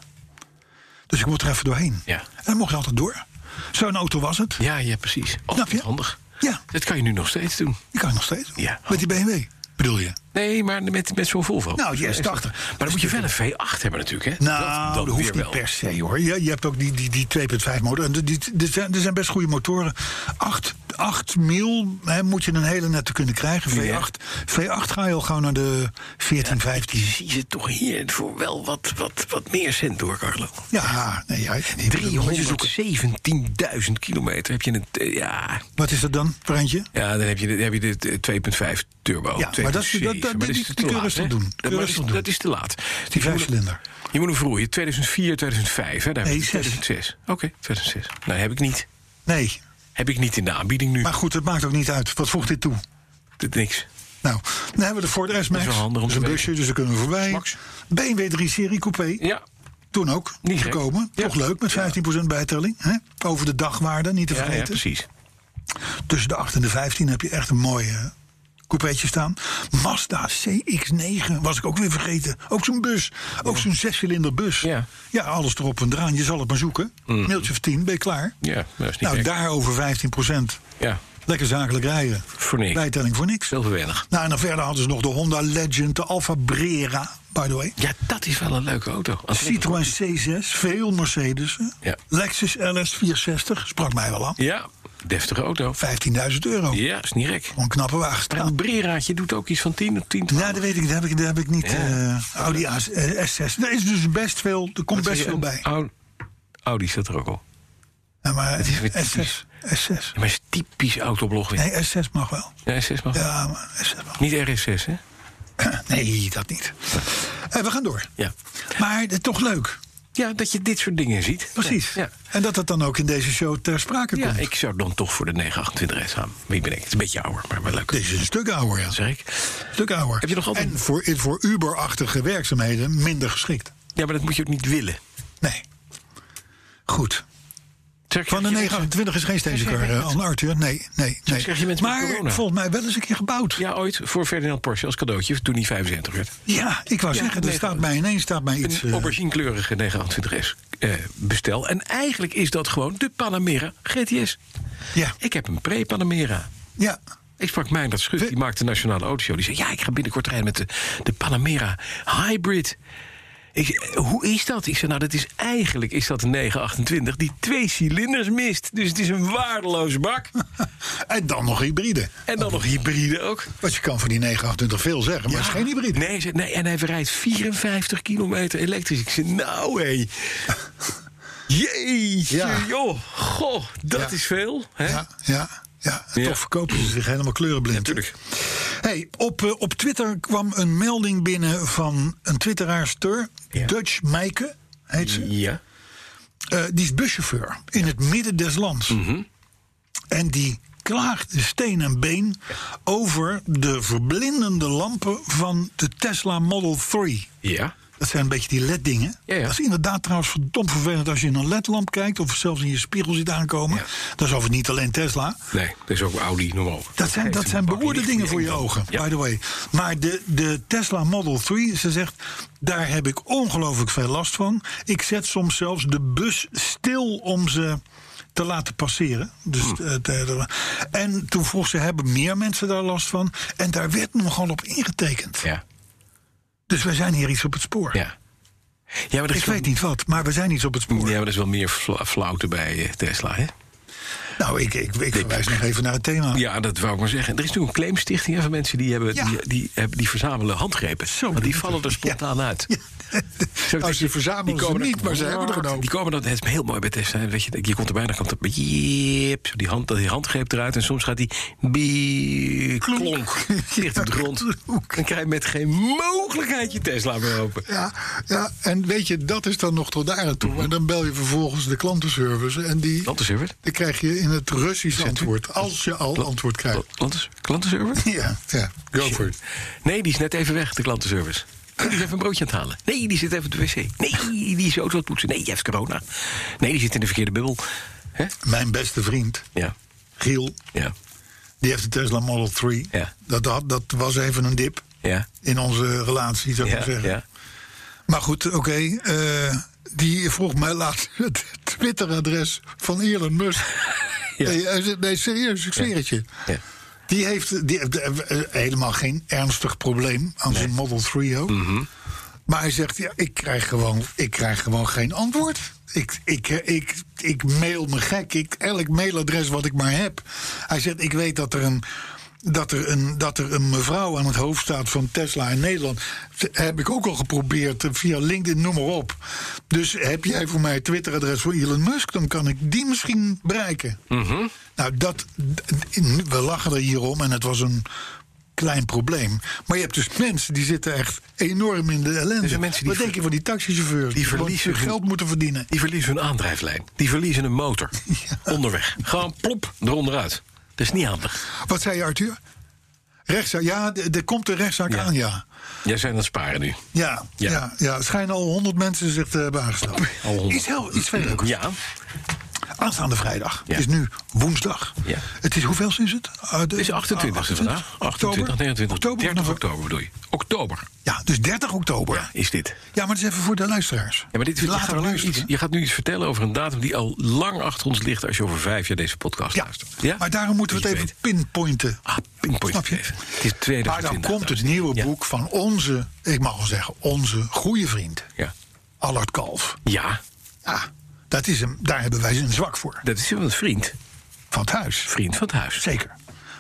Dus ik moet er even doorheen. Ja. En dan mocht je altijd door. Zo'n auto was het. Ja, ja, precies. Oh, Snap je? handig. Ja. Dat kan je nu nog steeds doen. Die kan je nog steeds. doen. Ja. Met die BMW, bedoel je? Nee, maar met, met zo'n Volvo. Nou, die Ja, S80. Maar dan moet je wel een V8 hebben natuurlijk, hè? Nou, dat, hoeft niet per se hoor. Je, je hebt ook die, die, die 2,5 motor. En die- die- Er zijn, er zijn best goede motoren. 8, 8 mil hè, moet je een hele nette kunnen krijgen. V8, V8 ga je al gauw naar de 14, 15. Zie je toch hier voor wel wat, wat, wat meer cent door, Carlo. Ja, nee, ja, die- 317.000 kilometer heb je een... eh, Ja, Wat is dat dan, Brandje? ja dan heb je, de- dan heb je de 2,5 turbo. Ja, maar dat is- 2,7. dat- dat- Maar die- die is te kun je laat, rustig hè? doen. Dat- Kun je maar rustig is- doen. Dat is te laat. Die Je moet- vijfcilinder. Je moet hem vroeien. 2004, 2005. Hè? Daar heb Nee, ik- zes. 2006. Oké, 2006. Nou, heb ik niet. Nee, Heb ik niet in de aanbieding nu. maar goed, het maakt ook niet uit. Wat voegt dit toe? Dit niks. Nou, dan hebben we de Ford S-Max. wel handig om is te een weten. busje, dus daar kunnen we voorbij. Max. BMW 3 Serie Coupé. Ja, Toen ook. Niet gek. gekomen. Ja. Toch leuk, met 15% bijtelling. Hè? Over de dagwaarde, niet te ja, ja, vergeten. precies. Tussen de 8 en de 15 heb je echt een mooi eh, coupeetje staan. Mazda CX-9 was ik ook weer vergeten. Ook zo'n bus. Ook zo'n zescilinder bus. Ja. Mm. ja, alles erop en eraan. Je zal het maar zoeken. Mailtje of 10, ben je klaar? Ja, dat is niet Nou, gek. daarover 15%. Ja, Lekker zakelijk rijden. voor niks. Bijtelling voor niks. Veel verwennig. Nou, en dan verder hadden ze nog de Honda Legend, de Alfa Brera, by the way. Ja, dat is wel een leuke auto. Citroën C6, veel Mercedes. Ja. Lexus LS460, sprak mij wel aan. Ja, deftige auto. 15.000 euro. Ja, is niet gek. Gewoon een knappe wagen. Maar een Breraatje doet ook iets van 10 of 10. Ja, dat weet ik. Daar heb ik, daar heb ik niet. eh, Audi A- eh, S6. Er is dus best veel. Er komt best veel bij. Audi, Audi staat er ook al. Ja, maar is weer typisch. S6. S6. Ja, maar is typisch autoblog weer. Nee, S6 mag wel. Ja, SS mag. Ja, maar S6 mag. Niet RS6, hè? (clears throat) Nee, dat niet. Eh, we gaan door. Ja. Maar het is toch leuk. Ja, dat je dit soort dingen ziet. Precies. Ja, En dat het dan ook in deze show ter sprake ja. komt. ja ik zou dan toch voor de 928 S gaan. Wie ben ik? Het is een beetje ouder, maar wel leuk. Dit is een stuk ouder, ja. Zeg ik. Stuk ouder. Heb je nog altijd- En voor, voor Uber-achtige werkzaamheden minder geschikt. Ja, maar dat moet je ook niet willen. Nee. Goed. Zeg, Van de je mensen- 928 is geen stagecar, eh, Anne Arthur. Nee, nee, Zo krijg nee. je mensen met Maar corona. volgens mij wel eens een keer gebouwd. Ja, ooit voor Ferdinand Porsche als cadeautje, toen hij 75 werd. Ja, ik wou Ja, zeggen, er nee, staat dat- mij ineens staat mij iets... Een eh, auberginekleurige 928S eh, bestel. En eigenlijk is dat gewoon de Panamera GTS. ja, Ik heb een pre-Panamera. ja. Ik sprak mijn dat Schut, We- die maakt de Nationale Autoshow. Die zei, ja, ik ga binnenkort rijden met de, de Panamera Hybrid. Ik zei, eh, hoe is dat? Ik zei, nou, dat is eigenlijk is dat een 928 die twee cilinders mist. Dus het is een waardeloze bak. En dan nog hybride. En dan nog hybride ook. Wat je kan voor die 928 veel zeggen, maar het is geen hybride. Nee, ze- nee, en hij rijdt 54 kilometer elektrisch. Ik zei, nou (laughs) hé. Jeetje, Ja. joh. Goh, dat Ja. is veel. Hè? Ja, ja, ja. Ja. Toch verkopen ze zich helemaal kleurenblind. Natuurlijk. Hey, op, eh, op Twitter kwam een melding binnen van een twitteraarster, Dutch Meike heet ze. Ja. Eh, die is buschauffeur in het midden des lands. Mhm. En die klaagde steen en been over de verblindende lampen van de Tesla Model 3. Ja. Dat zijn een beetje die LED-dingen. Ja, ja. Dat is inderdaad trouwens verdomd vervelend als je in een LED-lamp kijkt... of zelfs in je spiegel ziet aankomen. Ja. Dat is overigens niet alleen Tesla. Nee, dat is ook Audi, noem maar op. Dat zijn, dat zijn beroerde dingen voor je ogen, by the way. Maar de, de Tesla Model 3, ze zegt... daar heb ik ongelooflijk veel last van. Ik zet soms zelfs de bus stil om ze te laten passeren. Dus, Hm. eh, te- en toen vroeg ze, hebben meer mensen daar last van? En daar werd nogal op ingetekend. Ja, Dus wij zijn hier iets op het spoor. ja. ja maar er is Ik wel- weet niet wat, maar we zijn iets op het Ja, spoor. maar er is wel meer fla- flauwte bij eh, Tesla, hè? Nou, ik, ik, ik verwijs nog even naar het thema. Ja, dat wou ik maar zeggen. Er is nu een claimstichting hè, van mensen die, hebben, Ja. die, die, hebben, die verzamelen handgrepen. Zo want die bedoelt vallen er spontaan uit. Ja. (laughs) Zo, Nou, dus ze verzamelen die ze komen niet, er- maar ze hebben er een hoop. Die komen dan, het is heel mooi bij Tesla. Weet je, je komt er bijna, komt er, jeep, zo die, hand, die handgreep eruit. En soms gaat die bie, klonk, ligt op de grond. (laughs) klonk. Dan krijg je met geen mogelijkheid je Tesla meer open. Ja, ja, en weet je, dat is dan nog tot daar aan toe. Mhm. En dan bel je vervolgens de klantenservice en die, Klantenservice? dan krijg je in het Russisch Zet u- antwoord. Als je al antwoord krijgt. Klanten, klantenservice? Ja, ja, go for it. Nee, die is net even weg, de klantenservice. Die is even een broodje aan het halen. Nee, die zit even op de wc. Nee, die is je auto aan het poetsen. Nee, die heeft corona. Nee, die zit in de verkeerde bubbel. Hè? Mijn beste vriend, Ja, Giel, ja, die heeft een Tesla Model 3. Ja. Dat, had, dat was even een dip ja. in onze relatie, zou ik Ja, maar zeggen. ja. Maar goed, oké. eh, die vroeg mij laatst het Twitteradres van Elon Musk. (laughs) Ja. Nee, hij zegt, nee, serieus, ik zweer het je. Ja. Die heeft, die heeft, eh, eh, helemaal geen ernstig probleem aan zijn Model 3 ook. Maar hij zegt, ja, ik, krijg gewoon, ik krijg gewoon geen antwoord. Ik, ik, eh, ik, ik mail me gek. Ik, elk mailadres wat ik maar heb. Hij zegt, ik weet dat er een... Dat er, een, dat er een mevrouw aan het hoofd staat van Tesla in Nederland. Dat Heb ik ook al geprobeerd eh, via LinkedIn, noem maar op. Dus heb jij voor mij het Twitteradres voor Elon Musk? Dan kan ik die misschien bereiken. Nou, dat, we lachen er hier om en het was een klein probleem. Maar je hebt dus mensen die zitten echt enorm in de ellende. Er zijn mensen die Wat denk ver- je van die taxichauffeurs? die gewoon verliezen hun hun- geld moeten verdienen. Die verliezen hun aandrijflijn. Die verliezen een (laughs) motor. Onderweg. Gewoon plop eronderuit. Dat is niet handig. Wat zei je, Arthur? Rechtszaak, ja, d- er komt een rechtszaak Ja. aan, ja. Jij zijn aan het sparen nu. Ja, Ja. ja. ja, schijnen al honderd mensen zich te hebben aangesteld. Al honderd. Iets, heel, iets veel leukers. Ja, Aanstaande vrijdag. Ja. Het is nu woensdag. Ja. Het is, hoeveel is het? Uh, de- het is 28 e vandaag. 28, 29, oktober. 30 oktober. oktober bedoel je. Oktober Ja, dus 30 oktober. ja, is dit. Ja, maar dat is even voor de luisteraars. Ja, maar dit, je, Later gaat nu luisteren. iets, je gaat nu iets vertellen over een datum die al lang achter ons ligt... als je over vijf jaar deze podcast Ja, luistert. Dus maar daarom moeten we het even pinpointen. Ah, pinpoint. Snap je? even. Het is Maar 2020. dan komt het nieuwe Ja. boek van onze, ik mag wel zeggen, onze goede vriend, Ja. Allard Kalf. ja, Ja, dat is hem, daar hebben wij een zwak voor, dat is wel een vriend. van het huis. Vriend van het huis. Zeker.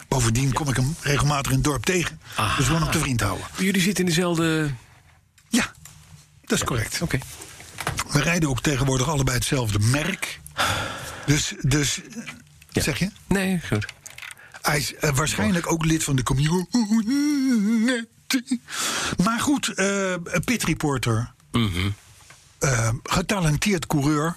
Bovendien kom ik hem regelmatig in het dorp tegen. Aha. Dus we gaan hem te vriend houden. Jullie zitten in dezelfde... Ja, dat is correct. Oké. We rijden ook tegenwoordig allebei hetzelfde merk. Dus, dus Ja. zeg je? Nee, goed. Hij is eh, waarschijnlijk ook lid van de community. Maar goed, eh pit reporter. Mhm. Eh, getalenteerd coureur.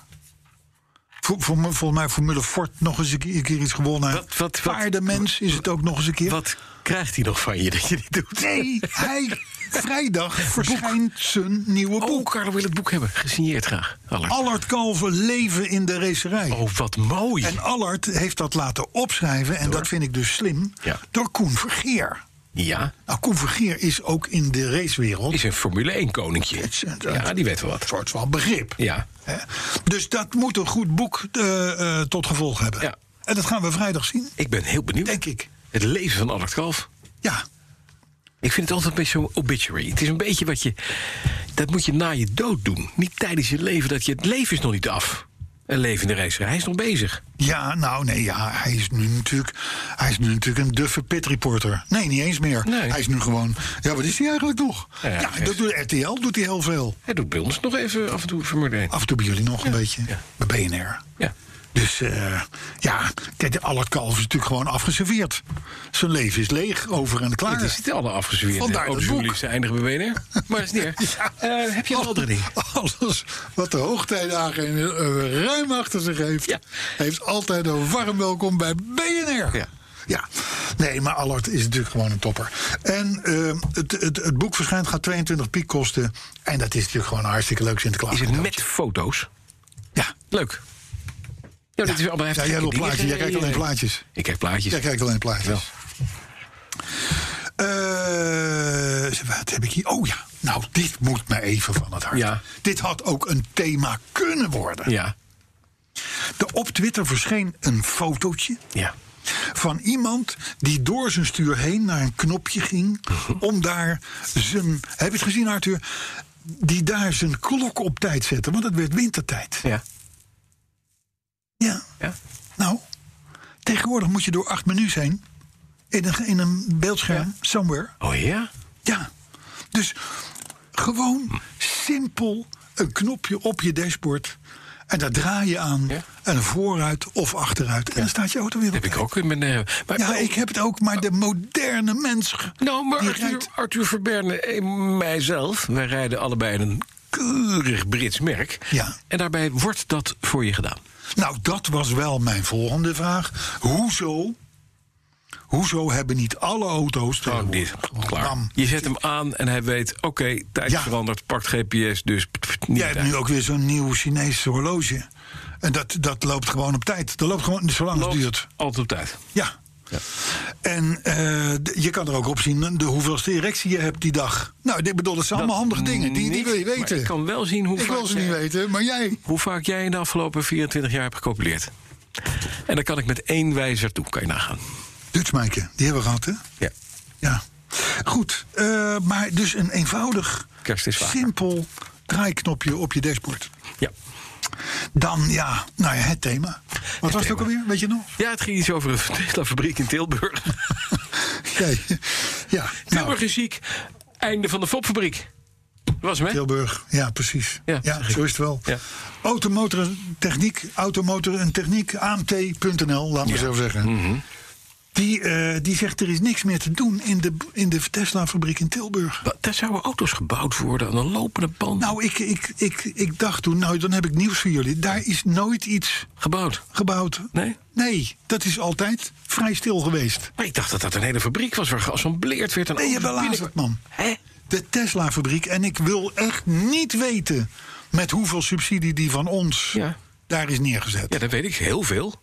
Vol- vol- Volgens mij Formule Ford nog eens een keer een keer iets gewonnen. Wat- wat- wat- Paardenmens is het ook nog eens een keer. Wat krijgt hij nog van je dat je dit doet? Nee, hij, vrijdag verschijnt zijn nieuwe Oh, boek. Carlo wil het boek hebben. Gesigneerd graag. Allard. Allard Kalver, Leven in de Racerij. Oh, wat mooi. En Allard heeft dat laten opschrijven, en dat vind ik dus slim, Ja. door Koen Vergeer. Ja, Nou, Koen Vergeer is ook in de racewereld is een Formule 1 koninkje. Het- het- Ja, die weet wel wat. een soort van begrip. Ja. Hè? Dus dat moet een goed boek eh, eh, tot gevolg hebben. Ja. En dat gaan we vrijdag zien, Ik ben heel benieuwd. denk ik. Het leven van Allard Kalf. Ja, Ik vind het altijd een beetje zo'n obituary. Het is een beetje wat je... Dat moet je na je dood doen. Niet tijdens je leven. Dat je, het leven is nog niet af. Een levende racer. Hij is nog bezig. ja nou nee, ja, hij, is nu natuurlijk, hij is nu natuurlijk een duffe pitreporter. Nee, niet eens meer. Nee. Hij is nu gewoon... Ja, wat is hij eigenlijk nog? Ja, Ja, ja, hij is- dat doet RTL doet hij heel veel. Hij doet bij ons nog even af en toe Formule 1. Af en toe bij jullie nog een beetje. Bij BNR. Ja. Dus eh, ja, kijk, alle kalf is natuurlijk gewoon afgeserveerd. Zijn leven is leeg, over en klaar. Het is niet allemaal afgezweerd. Vandaar Ook dat boek. journalisten eindigen bij BNR. Maar dat (laughs) is niet (laughs) erg. Eh, heb je een andere ding? Alles wat de hoogtijdagen in, eh, ruim achter zich heeft, Ja. heeft altijd een warm welkom bij BNR. Ja. Ja. nee, maar Allard is natuurlijk gewoon een topper. En eh, het, het, het boek verschijnt, gaat 22 piek kosten. En dat is natuurlijk gewoon een hartstikke leuk Sinterklaas. Is het cadeautje. met foto's? Ja. Leuk. Ja, dat is allemaal Ja, heftig. jij wil plaatjes. Jij kijkt alleen plaatjes. Ik kijk plaatjes. Jij kijkt alleen plaatjes. Eh, wat heb ik hier? Oh ja, nou, dit moet me even van het hart. Ja. Dit had ook een thema kunnen worden. Ja. De, op Twitter verscheen een fotootje Ja. van iemand die door zijn stuur heen naar een knopje ging. Mhm. om daar zijn. Heb je het gezien, Arthur? Die daar zijn klok op tijd zette, want het werd wintertijd. Ja. Ja, Ja. nou. Tegenwoordig moet je door acht menus heen. In een, in een beeldscherm, somewhere. Oh ja? Ja. Dus Hm. gewoon simpel een knopje op je dashboard. En daar draai je aan. Ja. En vooruit of achteruit. En dan staat je auto weer op. Dat heb ik ook in mijn... eh, maar, Ja, ik heb het ook, maar de moderne mens. ge- Nou, maar die Arthur, rijdt- Arthur Verberne en mijzelf... wij rijden allebei een keurig Brits merk. Ja. En daarbij wordt dat voor je gedaan. Nou, dat was wel mijn volgende vraag. Hoezo? Hoezo hebben niet alle auto's Gewoon dit. tegenwoordig gewoon Oh, Klaar. bam? Je zet hem aan en hij weet... oké, tijd oh, Ja. verandert, pakt GPS, dus... pff, pff, niet Jij hebt uit. nu ook weer zo'n nieuw Chinese horloge. En dat, dat loopt gewoon op tijd. Dat loopt gewoon zolang het Loopt duurt. Altijd op tijd. Ja. En eh, d- je kan er ook op zien de hoeveelste erectie je hebt die dag. Nou, ik bedoel, dat zijn allemaal handige dingen. Die, die niet, wil je maar weten. Ik kan wel zien hoe Ik vaak wil ze jij- niet weten, maar jij. hoe vaak jij in de afgelopen 24 jaar hebt gecopuleerd. En dan kan ik met één wijzer toe, kan je nagaan. Dutchmijke, die hebben we gehad, hè? Ja. Ja. Goed, eh, maar dus een eenvoudig, Kerst is waar. simpel draaiknopje op je dashboard. Ja. Dan, ja, nou ja, het thema. Wat was het thema. ook alweer? Weet je nog? ja, het ging iets over een (laughs) Tesla-fabriek in Tilburg. Ja, ja. Tilburg Nou, is ziek. Einde van de Fopfabriek. Dat was hem, hè? Tilburg, ja, precies. Ja, Ja, zeg ik. zo is het wel. Ja. Automotor en Techniek, Automotor en Techniek, AMT.nl, laat maar zo zeggen. Mhm. Die, eh, die zegt er is niks meer te doen in de, in de Tesla-fabriek in Tilburg. Wat, Daar zouden auto's gebouwd worden aan een lopende band. Nou, ik, ik, ik, ik dacht toen, nou, dan heb ik nieuws voor jullie. Daar is nooit iets gebouwd. gebouwd. Nee? Nee, dat is altijd vrij stil geweest. Maar ik dacht dat dat een hele fabriek was waar geassembleerd werd. En Ben je auto's belazerd, binnenkwamen. man? De Tesla-fabriek. En ik wil echt niet weten met hoeveel subsidie die van ons Ja. daar is neergezet. Ja, dat weet ik. Heel veel.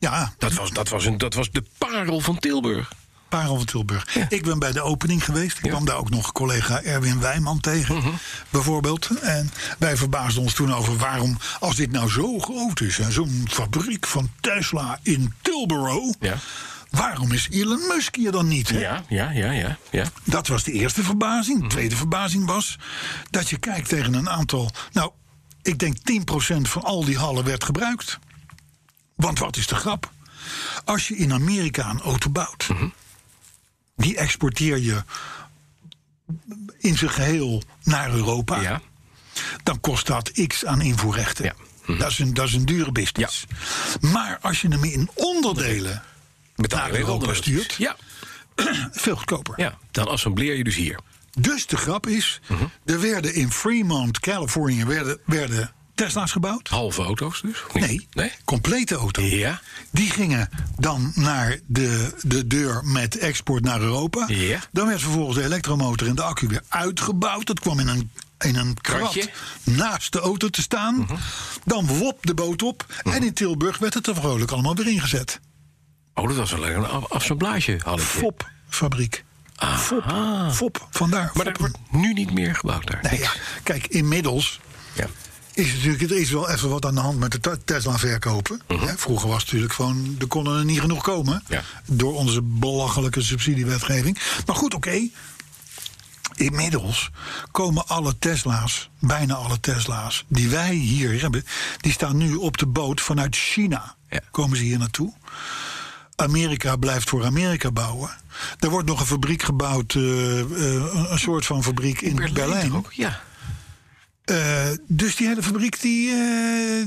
Ja, Dat was, dat was, een, dat was de parel van Tilburg. Parel van Tilburg. Ja. Ik ben bij de opening geweest. Ik kwam daar ook nog collega Erwin Wijman tegen, Mhm. bijvoorbeeld. En wij verbaasden ons toen over waarom, als dit nou zo groot is... en zo'n fabriek van Tesla in Tilburg... Ja. waarom is Elon Musk hier dan niet? hè? Ja, ja, ja, ja. ja. Dat was de eerste verbazing. De Mhm. tweede verbazing was dat je kijkt tegen een aantal... nou, ik denk 10% van al die hallen werd gebruikt. Want wat is de grap? Als je in Amerika een auto bouwt... Mhm. die exporteer je in zijn geheel naar Europa... ja. dan kost dat x aan invoerrechten. Ja. Mhm. dat, is een, dat is een dure business. Maar als je hem in onderdelen Betaal naar je weer Europa andere stuurt... Ja, veel goedkoper. ja, dan assembleer je dus hier. Dus de grap is, Mhm. er werden in Fremont, Californië, werden, werden Tesla's gebouwd. Halve auto's dus? of niet? Nee, Nee? complete auto's. Ja. Die gingen dan naar de, de deur met export naar Europa. Ja. Dan werd vervolgens de elektromotor en de accu weer uitgebouwd. Dat kwam in een, in een krat Kratje. Mhm. naast de auto te staan. Dan wop de boot op. En in Tilburg werd het er vrolijk allemaal weer ingezet. Oh, dat was alleen een af- assemblage, had ik. Fop-fabriek. Fop, Ah. Fop, vandaar. Maar er Foppen. wordt nu niet meer gebouwd daar. Nee, ja. Kijk, inmiddels Ja. is natuurlijk, er is wel even wat aan de hand met de Ta- Tesla-verkopen. Hè, Vroeger was het natuurlijk gewoon, er konden er niet genoeg komen. Mhm. Ja. Door onze belachelijke subsidiewetgeving. Maar goed, oké. Inmiddels komen alle Tesla's, bijna alle Tesla's, die wij hier hebben... die staan nu op de boot vanuit China. Ja. Komen ze hier naartoe. Amerika blijft voor Amerika bouwen. Er wordt nog een fabriek gebouwd, eh, eh, een- een soort van fabriek in Berlijn. toch ook? Ja. Eh, dus die hele fabriek, die, eh,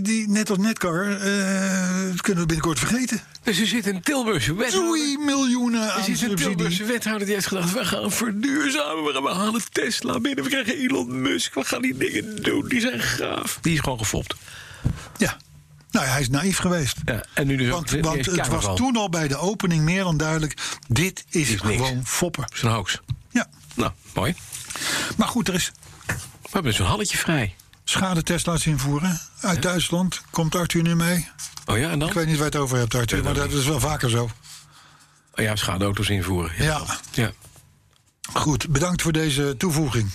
die net als Netcar, eh, kunnen we binnenkort vergeten. Dus er zit een Tilburgse wethouder. Doei, miljoenen Er aan zit een Tilburgse subsidie. wethouder die heeft gedacht: we gaan verduurzamen, we gaan- we halen Tesla binnen, we krijgen Elon Musk, we gaan die dingen doen, die zijn gaaf. Die is gewoon gefopt. Ja. Nou ja, hij is naïef geweest. Ja, en nu dus ook- Want, die want is het carnaval. was toen al bij de opening meer dan duidelijk. Dit is, Is niks. gewoon foppen. Dat is een hoax. Ja. Nou, mooi. Maar goed, er is We hebben dus een halletje vrij. schadetest laten invoeren. Uit Duitsland komt Arthur nu mee. Oh ja, en dan? Ik weet niet waar je het over hebt, Arthur. Maar dat is wel vaker zo. Oh ja, schadeauto's invoeren. Ja. Ja. ja. Goed, bedankt voor deze toevoeging.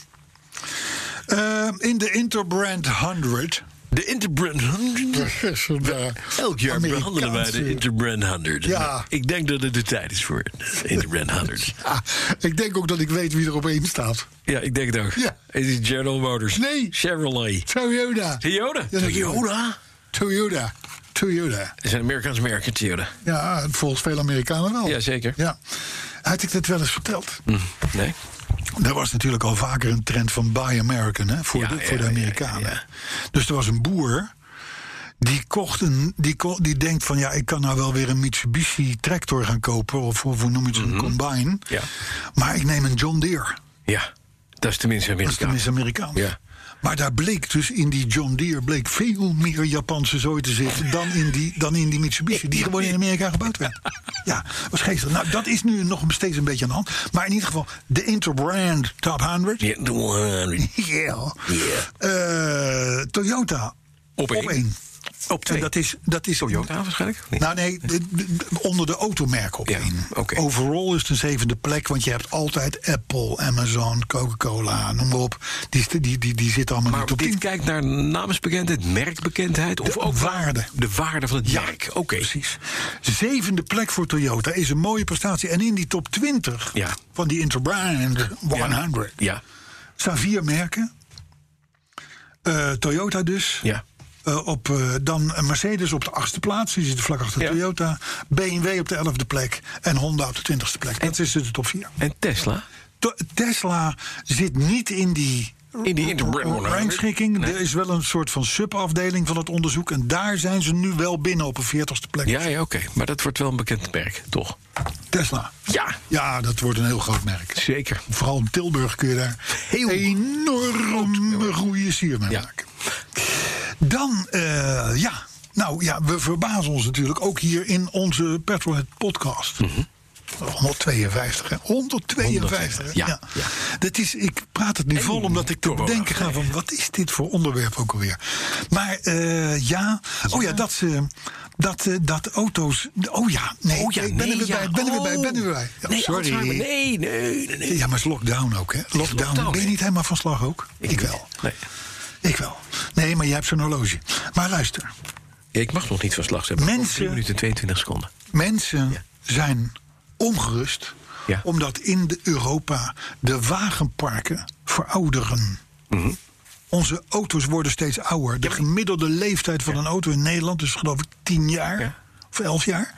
Eh, in de Interbrand 100. De Interbrand 100. Professor daar. Elk jaar Amerikaanse- behandelen wij de Interbrand 100. Ja. Ik denk dat het de tijd is voor de Interbrand 100. Ah, ik denk ook dat ik weet wie er op één staat. Ja, ik denk het ook. Ja. Het is General Motors. Nee. Chevrolet. Toyota. Toyota. Ja, natuurlijk. Toyota. Toyota. Toyota. Het is een Amerikaans merk, Toyota. Ja, volgens veel Amerikanen wel. Jazeker. Ja. Had ik dit wel eens verteld? Hm. Nee. Er was natuurlijk al vaker een trend van Buy American hè, voor, Ja, de, ja, voor de ja, Amerikanen. ja, ja. Dus er was een boer. Die, kocht een, die, ko- die denkt van ja, ik kan nou wel weer een Mitsubishi tractor gaan kopen. Of, of hoe noem je het, een combine. Mhm. Ja. Maar ik neem een John Deere. Ja. Dat is Dat is tenminste Amerikaans. tenminste Amerikaans. Ja. Maar daar bleek dus in die John Deere bleek veel meer Japanse zooi te zitten dan in die, dan in die Mitsubishi. Die gewoon in Amerika gebouwd (laughs) werd. Ja, was geestig. Nou, dat is nu nog steeds een beetje aan de hand. Maar in ieder geval, de Interbrand Top 100. Ja, de 100. Yeah. Eh, Toyota. Op één. Op twee. En dat is, dat is Toyota waarschijnlijk? of niet? Nou nee, d- d- onder de automerken op Ja, één. oké. Overal is het een zevende plek, want je hebt altijd Apple, Amazon, Coca-Cola, noem maar op. Die, st- die, die, die zitten allemaal maar niet op dit tien. kijkt naar namensbekendheid, merkbekendheid of De ook waarde. De waarde van het Ja, merk. Oké. precies. Zevende plek voor Toyota is een mooie prestatie. En in die top 20 Ja. van die Interbrand 100 Ja. staan vier merken. Eh, Toyota dus. Ja. Eh, op, eh, dan Mercedes op de achtste plaats, die zit vlak achter Ja. Toyota. BMW op de elfde plek en Honda op de twintigste plek. Dat is dus de top vier. En Tesla? To- Tesla zit niet in die In die Interbrand rangschikking. Er is wel een soort van subafdeling van het onderzoek. En daar zijn ze nu wel binnen op een veertigste plek. Ja, ja oké. Maar dat wordt wel een bekend merk, toch? Tesla. Ja. Ja, dat wordt een heel groot merk. Zeker. Vooral in Tilburg kun je daar Heel enorme goede sier mee Ja. maken. Dan, eh, ja. Nou ja, we verbazen ons natuurlijk ook hier in onze Petrolhead podcast. Mhm. 152, hè? 152. hè? Ja, ja. Dat is, ik praat het nu vol omdat ik te corona. bedenken ga van... wat is dit voor onderwerp ook alweer? Maar eh, ja, oh ja, dat, ze, dat, eh, dat auto's... Oh ja, nee, Oh ja, ik ben er nee, weer ja. bij, ik ben er weer bij, ik ben er weer Oh. bij. Ja, nee, sorry. Alzheimer. Nee, nee, nee. nee. Ja, maar het is lockdown ook, hè? Lockdown. lockdown, ben je hè? niet helemaal van slag ook? Ik, wel. Nee. Ik wel. Nee, maar jij hebt zo'n horloge. Maar luister, Ja, ik mag nog niet van slag zijn. maar Mensen- over 3 minuten 22 seconden. mensen Ja. zijn ongerust... Ja. omdat in de Europa de wagenparken verouderen. Mhm. Onze auto's worden steeds ouder. De gemiddelde leeftijd van een auto in Nederland is geloof ik 10 jaar. Ja. Of 11 jaar.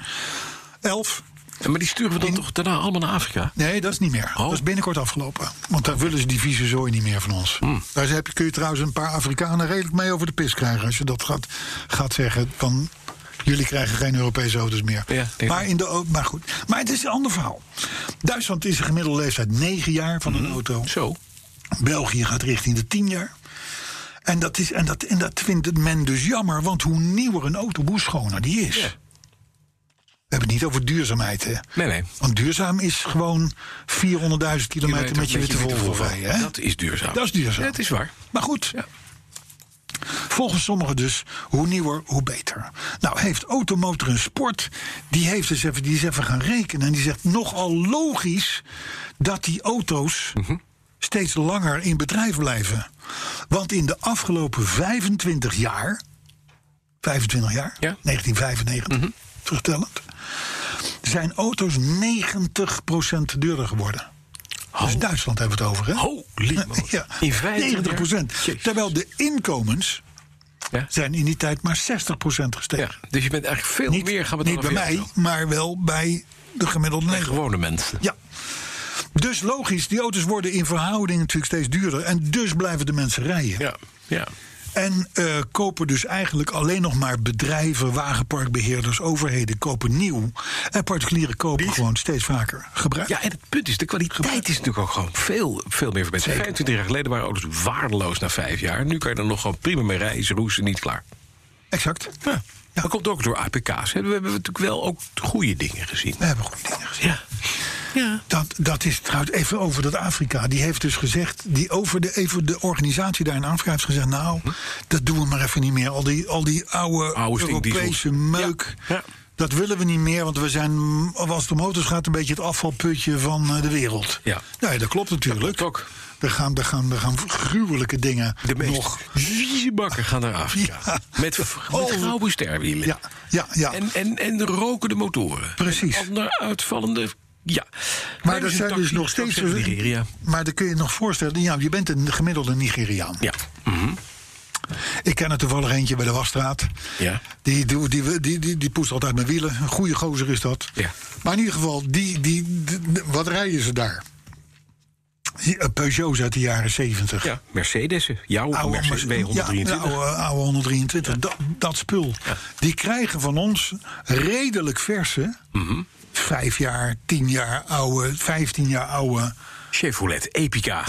11. Ja, maar die sturen we dan toch daarna allemaal naar Afrika? Nee, dat is niet meer. Oh. Dat is binnenkort afgelopen. Want daar willen ze die vieze zooi niet meer van ons. Hm. Daar heb je- kun je trouwens een paar Afrikanen redelijk mee over de pis krijgen. Als je dat gaat, gaat zeggen van... Jullie krijgen geen Europese auto's meer. Ja, denk maar, ik. in de, au- maar goed. Maar het is een ander verhaal. Duitsland is een gemiddelde leeftijd 9 jaar van Mhm. een auto. Zo. België gaat richting de 10 jaar. En dat, is, en, dat, en dat vindt men dus jammer. Want hoe nieuwer een auto, hoe schoner die is. Ja. We hebben het niet over duurzaamheid, hè? Nee, nee. Want duurzaam is gewoon 400.000 kilometer, met je witte Volvo rijden. hè? Dat is duurzaam. Dat is duurzaam. Ja, het is waar. Maar goed, Ja. volgens sommigen dus, hoe nieuwer, hoe beter. Nou, heeft Automotor en Sport, die, heeft eens even, die is even gaan rekenen... en die zegt nogal logisch dat die auto's Mhm. steeds langer in bedrijf blijven. Want in de afgelopen 25 jaar... 25 jaar, Ja. Mhm. 1995, terugtellend... zijn auto's 90% duurder geworden. Dus Duitsland hebben we het over, hè? Holy moly. (laughs) Ja, In 25 jaar? 90 Jezus. Terwijl de inkomens Ja. zijn in die tijd maar 60 ja. gestegen. Dus je bent eigenlijk veel niet meer gaan niet betalen bij voor je mij, auto. maar wel bij de gemiddelde Bij Nederlander. gewone mensen. Ja. Dus logisch, die auto's worden in verhouding natuurlijk steeds duurder. En dus blijven de mensen rijden. Ja. Ja. En eh, kopen dus eigenlijk alleen nog maar bedrijven, wagenparkbeheerders, overheden kopen nieuw. En particulieren kopen gewoon steeds vaker gebruik. Ja, en het punt is, de kwaliteit is natuurlijk ook gewoon veel, veel meer verbeterd. 25 jaar geleden waren auto's waardeloos na vijf jaar. Nu kan je er nog gewoon prima mee reizen, roesten, niet klaar. Exact. Ja. Dat komt ook door APK's. hè. We hebben natuurlijk wel ook goede dingen gezien. We hebben goed dingen gezien. Ja. ja. Dat, dat is trouwens even over dat Afrika. Die heeft dus gezegd, die over de, even de organisatie daar in Afrika heeft gezegd: Nou, dat doen we maar even niet meer. Al die, al die oude, Hm? Oude stinkdiezels. Europese meuk. Ja. Ja. Dat willen we niet meer, want we zijn, als het om auto's gaat, een beetje het afvalputje van eh, de wereld. Ja. Nee, dat klopt natuurlijk. Dat klopt ook. Er gaan, er gaan, er gaan gruwelijke dingen De meest nog. vieze bakken gaan naar Afrika. Ja. Met, met Oh. gouden sterwielen. Ja, ja, ja. En, en, en rokende motoren. Precies. En ander uitvallende... Ja. Maar Neem dat eens een zijn dus taxi, nog zou ik steeds. zeggen, Nigeria. Maar dan kun je je nog voorstellen, ja, je bent een gemiddelde Nigeriaan. Ja. Ik ken er toevallig eentje bij de Wasstraat. Ja. Die, die, die, die, die, die poest altijd met wielen. Een goede gozer is dat. Ja. Maar in ieder geval, die, die, die- wat rijden ze daar? Die, eh, Peugeots uit de jaren 70. Ja, Mercedes'en. Jouw Mercedes Merce- Ja, nou, de B123. oude, oude 123. Dat, dat spul. Die krijgen van ons redelijk verse. Mhm. Vijf jaar, tien jaar oude, vijftien jaar oude (laughs) Chevrolet, Epica.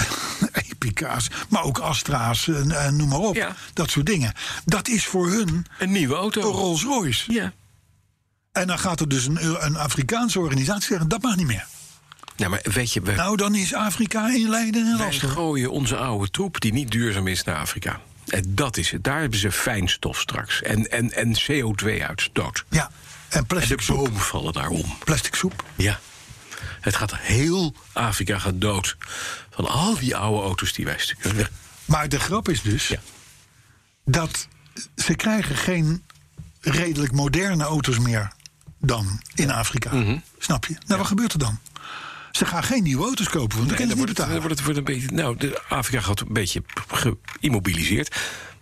Epica's. Maar ook Astra's en, en noem maar op. Ja. Dat soort dingen. Dat is voor hun (laughs) Een nieuwe auto. een Rolls Royce. Ja. En dan gaat er dus een, een Afrikaanse organisatie zeggen: dat mag niet meer. Nou, maar weet je, we, Nou, dan is Afrika inleiden en wij lastig. gooien onze oude troep die niet duurzaam is naar Afrika. En dat is het. Daar hebben ze fijnstof straks. En, en, en CO2-uitstoot. Ja, en De plastic soep. bomen vallen daar om. Plastic soep. Ja. Het gaat heel Afrika gaat dood. Van al die oude auto's die wij sturen. Ja. Maar de grap is dus Ja. dat ze krijgen geen redelijk moderne auto's meer dan in Afrika. Mhm. Snap je? Nou, wat gebeurt er dan? Ze gaan geen nieuwe auto's kopen, want dan En kunnen ze wordt niet het, dan betalen. wordt het, wordt een beetje. Nou, de Afrika gaat een beetje geïmmobiliseerd.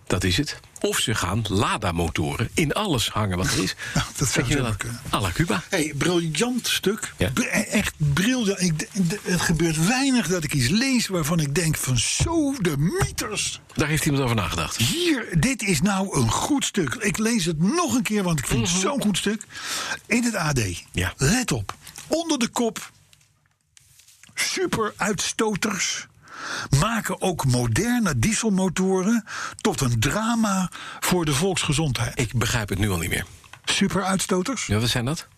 Dat is het. Of ze gaan Lada-motoren in alles hangen wat er is. (laughs) Nou, dat zou Weet je wel, zomaar kunnen. à la Cuba. Hey, briljant stuk. Ja. Br- e- Echt briljant. Ik, d- d- het gebeurt weinig dat ik iets lees waarvan ik denk van zo de mieters. Daar heeft iemand over nagedacht. Hier, dit is nou een goed stuk. Ik lees het nog een keer, want ik vind het zo'n goed stuk. In het AD. Ja. Let op. Onder de kop. Superuitstoters maken ook moderne dieselmotoren tot een drama voor de volksgezondheid. Ik begrijp het nu al niet meer. Superuitstoters? Ja, wat zijn dat?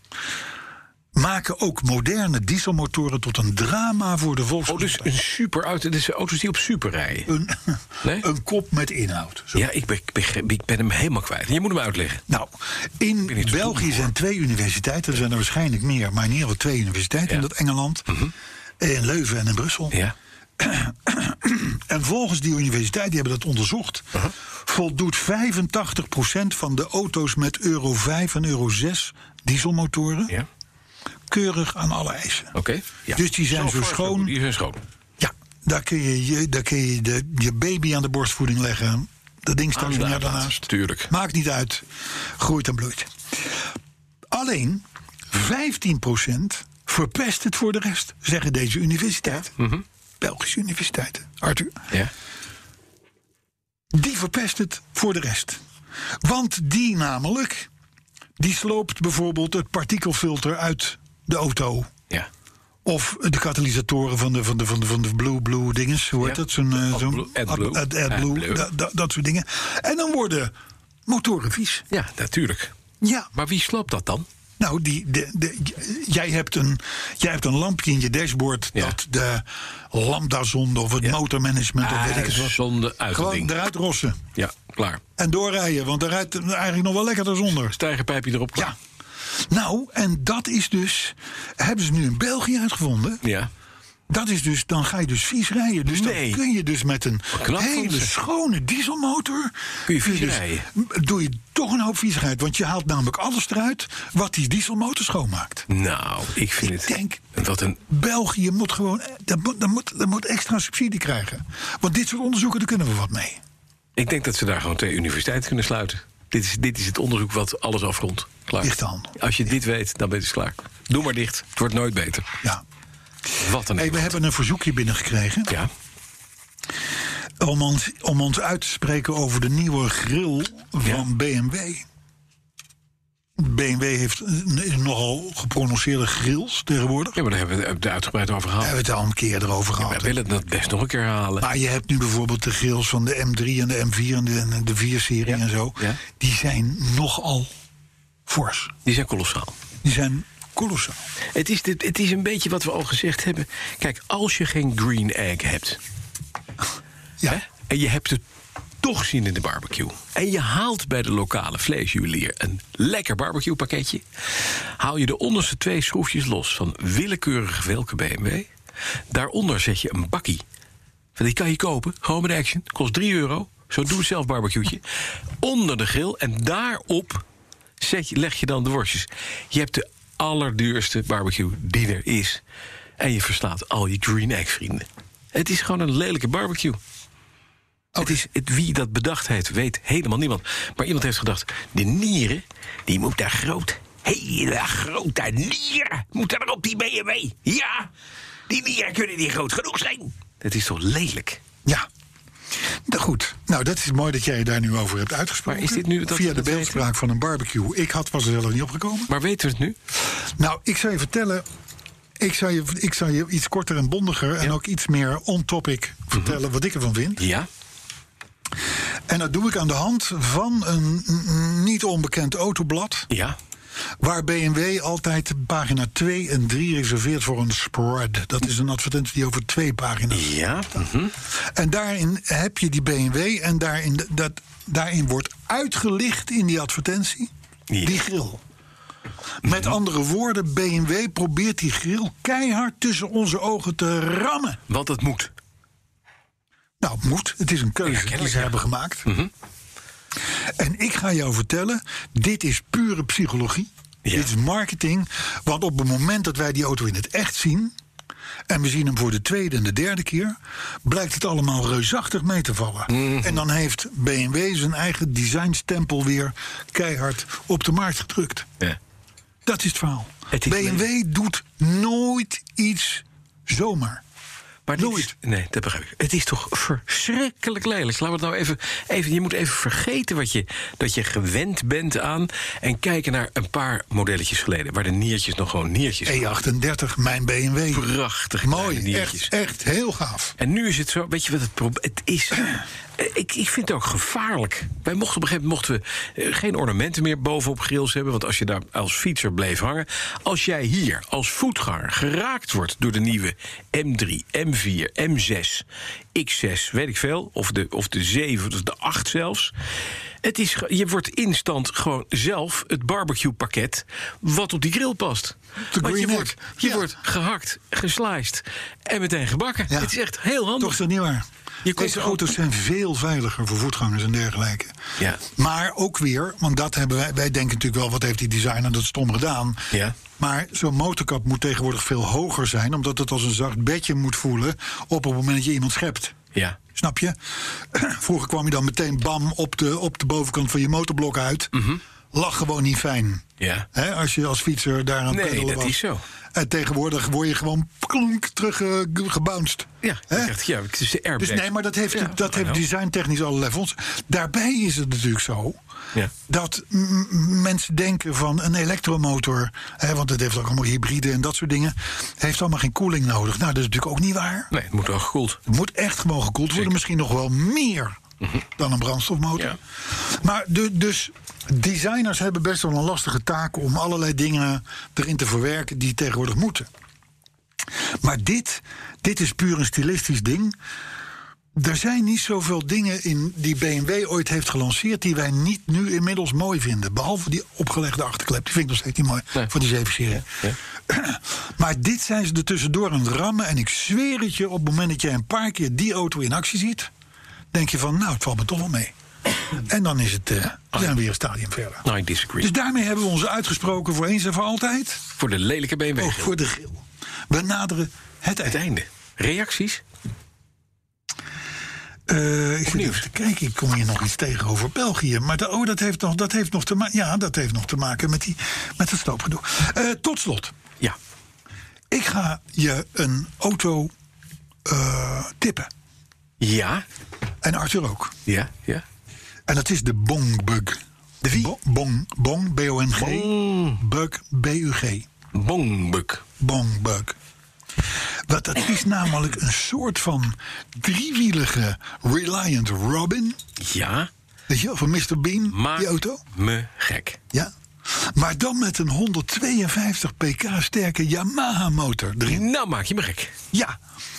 maken ook moderne dieselmotoren tot een drama voor de Oh, dus volksgezondheid. een super auto. Dit zijn auto's die op super rijden. een, (laughs) Nee? een kop met inhoud. Zo. Ja, ik ben, ik ben- ik ben hem helemaal kwijt. Je moet hem uitleggen. Nou, ben in niet zo België goed, zijn twee universiteiten, er zijn er waarschijnlijk meer, maar in ieder geval twee universiteiten in Ja. Mhm. dat Engeland. In Leuven en in Brussel. Ja. En volgens die universiteit, die hebben dat onderzocht, Mhm. voldoet 85% van de auto's met euro 5 en euro 6 dieselmotoren Ja. keurig aan alle eisen. Oké. Ja. Dus die zijn zo vaak schoon. Die zijn schoon. Ja, daar kun je je, daar kun je, de, je baby aan de borstvoeding leggen. Dat ding staat Aan van de jou uitlaat, daarnaast. tuurlijk. Maakt niet uit. Groeit en bloeit. Alleen 15% verpest het voor de rest, zeggen deze universiteiten. Belgische universiteiten, Arthur. Ja. Die verpest het voor de rest. Want die namelijk, die sloopt bijvoorbeeld het partikelfilter uit de auto. Ja. Of de katalysatoren van de, van de, van de, van de blue, blue dinges. Hoe heet Ja. dat? Zo'n, eh, zo'n AdBlue. AdBlue. Ad- Ad- AdBlue. AdBlue. Da- da- dat soort dingen. En dan worden motoren vies. ja, natuurlijk. Ja, Maar wie sloopt dat dan? nou, die, de, de, j- jij, hebt een, jij hebt een lampje in je dashboard... Ja. dat de lambda-zonde of het motormanagement... of Nou, weet ik het wat, Zonde uit het gewoon ding. eruit rossen. Ja, klaar. En doorrijden, want daar rijdt eigenlijk nog wel lekkerder zonder. Stijgerpijpje erop. Ja. Klaar. Nou, en dat is dus... hebben ze nu in België uitgevonden... Ja. Dat is dus, dan ga je dus vies rijden. Dus Nee. dan kun je dus met een knap van hele ze. schone dieselmotor... Kun je vies dus- rijden. m- doe je toch een hoop viezigheid. Want je haalt namelijk alles eruit wat die dieselmotor schoonmaakt. Nou, ik vind Ik het. denk- Wat een. België moet gewoon... eh, Dat moet, dat, moet, dat moet extra subsidie krijgen. Want dit soort onderzoeken, daar kunnen we wat mee. Ik denk dat ze daar gewoon twee universiteiten kunnen sluiten. Dit is, dit is het onderzoek wat alles afrondt. Klaar. Dichte handel. Als je dit weet, dan ben je dus klaar. Doe maar dicht. Het wordt nooit beter. Ja. Wat een. Hey, we hebben een verzoekje binnengekregen. Ja. om ons, om ons uit te spreken over de nieuwe grill van BMW. BMW heeft eh, nogal geprononceerde grills tegenwoordig. Ja, maar daar hebben we het uitgebreid over Daar gehad. hebben we het al een keer erover Wij gehad. willen dat best nog een keer halen. Maar je hebt nu bijvoorbeeld de grills van de M3 en de M4 en de, en de 4-serie en zo. ja. Die zijn nogal fors. Die zijn kolossaal. Die zijn kolossaal. Het is, dit, het is een beetje wat we al gezegd hebben. Kijk, als je geen green egg hebt... Ja. en je hebt het toch zin in de barbecue... en je haalt bij de lokale vleesjuwelier een lekker barbecuepakketje... haal je de onderste twee schroefjes los van willekeurig welke BMW... daaronder zet je een bakkie. Van Die kan je kopen, gewoon met Action. Kost 3 euro, zo'n doe-het-zelf barbecue'tje. Onder de grill en daarop zet je, leg je dan de worstjes. Je hebt de allerduurste barbecue die er is. En je verslaat al je Green Egg vrienden. Het is gewoon een lelijke barbecue. Oh. Het is, het, wie dat bedacht heeft, weet helemaal niemand. Maar iemand heeft gedacht, de nieren, die moet daar groot. Hele grote nieren moeten er op die BMW. Ja, die nieren kunnen niet groot genoeg zijn. Het is toch lelijk? Ja. Nou, goed. Nou, dat is mooi dat jij daar nu over hebt uitgesproken. Maar is dit nu dat- Via de dat weten? beeldspraak van een barbecue. Ik had, was er zelf niet opgekomen. Maar weten we het nu? Nou, ik zou je vertellen. Ik zou je, ik zou je iets korter en bondiger en ook iets meer on-topic vertellen Mhm. wat ik ervan vind. Ja. En dat doe ik aan de hand van een mm, niet onbekend autoblad. Ja. Waar BMW altijd pagina 2 en 3 reserveert voor een spread. Dat is een advertentie die over twee pagina's Ja. Mhm. En daarin heb je die BMW en daarin, dat, daarin wordt uitgelicht in die advertentie Ja. Mhm. die grill. Met andere woorden, BMW probeert die grill keihard tussen onze ogen te rammen. Want het moet. Nou, moet. Het is een keuze die kennelijk, Mhm. ze hebben gemaakt. En ik ga jou vertellen, dit is pure psychologie. Ja. Dit is marketing. Want op het moment dat wij die auto in het echt zien... en we zien hem voor de tweede en de derde keer... blijkt het allemaal reusachtig mee te vallen. Mhm. En dan heeft BMW zijn eigen designstempel weer keihard op de markt gedrukt. Ja. Dat is het verhaal. Het is BMW doet nooit iets zomaar. Maar dit is- Nooit. nee, dat begrijp ik. Het is toch verschrikkelijk lelijk. Laten we het nou even, even. Je moet even vergeten wat je, dat je gewend bent aan. En kijken naar een paar modelletjes geleden. Waar de niertjes nog gewoon niertjes waren. E38, mijn BMW. Prachtig. kleine Mooi, niertjes. echt, echt heel gaaf. En nu is het zo, weet je wat het probleem het is? (clears throat) Eh, ik, ik vind het ook gevaarlijk. Wij mochten op een gegeven moment mochten we eh, geen ornamenten meer bovenop grills hebben. Want als je daar als fietser bleef hangen. Als jij hier als voetganger geraakt wordt door de nieuwe M3, M4, M6, X6, weet ik veel. Of de, of de 7, of de 8 zelfs. Het is, ge- je wordt instant gewoon zelf het barbecue pakket wat op die grill past. De Want je green wordt, egg, je ja. wordt gehakt, gesliced en meteen gebakken. Ja. Het is echt heel handig. Toch is dat niet waar? Je komt Deze er auto's zijn veel veiliger voor voetgangers en dergelijke. Ja. Maar ook weer, want dat hebben wij, wij denken natuurlijk wel... wat heeft die designer dat stom gedaan. Ja. Maar zo'n motorkap moet tegenwoordig veel hoger zijn... omdat het als een zacht bedje moet voelen op het moment dat je iemand schept. Ja. Snap je? (clears throat) Vroeger kwam je dan meteen bam op de, op de bovenkant van je motorblok uit. Lag gewoon niet fijn. Mhm. Ja. Hè, als je als fietser daar aan het Nee, peddelen dat was. is zo. En tegenwoordig word je gewoon klonk terug eh, ge- gebounced. Ja, je Hè? krijgt- ja, het is de airbag. Dus nee, maar dat heeft, Ja, dat I heeft know. designtechnisch alle levels. Daarbij is het natuurlijk zo Ja. dat m- m- mensen denken van een elektromotor... Hè, want het heeft ook allemaal hybride en dat soort dingen... heeft allemaal geen koeling nodig. Nou, dat is natuurlijk ook niet waar. Nee, het moet wel gekoeld. Het moet echt gewoon gekoeld worden. Zeker. Mhm. Misschien nog wel meer dan een brandstofmotor. Ja. Maar de, dus designers hebben best wel een lastige taak om allerlei dingen erin te verwerken die tegenwoordig moeten. Maar dit, dit is puur een stilistisch ding. Er zijn niet zoveel dingen in die BMW ooit heeft gelanceerd die wij niet nu inmiddels mooi vinden. Behalve die opgelegde achterklep. Die vind ik nog steeds niet mooi van die 7 serie. (clears throat) Maar dit zijn ze er tussendoor aan het rammen. En ik zweer het je, op het moment dat jij een paar keer die auto in actie ziet, denk je van, nou, het valt me toch wel mee. En dan is het, eh, zijn we weer een stadium verder. I disagree. Dus daarmee hebben we ons uitgesproken voor eens en voor altijd. voor de lelijke BMW. Ook voor de grill. We naderen het Het eind. einde. Reacties? Eh, ik zit Opnieuw. even te kijken, ik kom hier nog iets tegen over België. Maar de, oh, dat heeft nog, dat heeft nog, te, ma- ja, dat heeft nog te maken met, die, met het sloopgedoe. Eh, tot slot, Ja. ik ga je een auto eh, tippen. Ja. En Arthur ook. Ja, ja. En dat is de bongbug. De wie? Bong, bong, B-O-N-G. Bug, B-U-G. Bongbuk. Bongbug. Want dat is namelijk een soort van driewielige Reliant Robin. Ja, Weet je wel, van Mr. Bean, maak die auto. me gek. Ja. Maar dan met een 152 pk sterke Yamaha-motor erin. Nou, maak je me gek. Ja.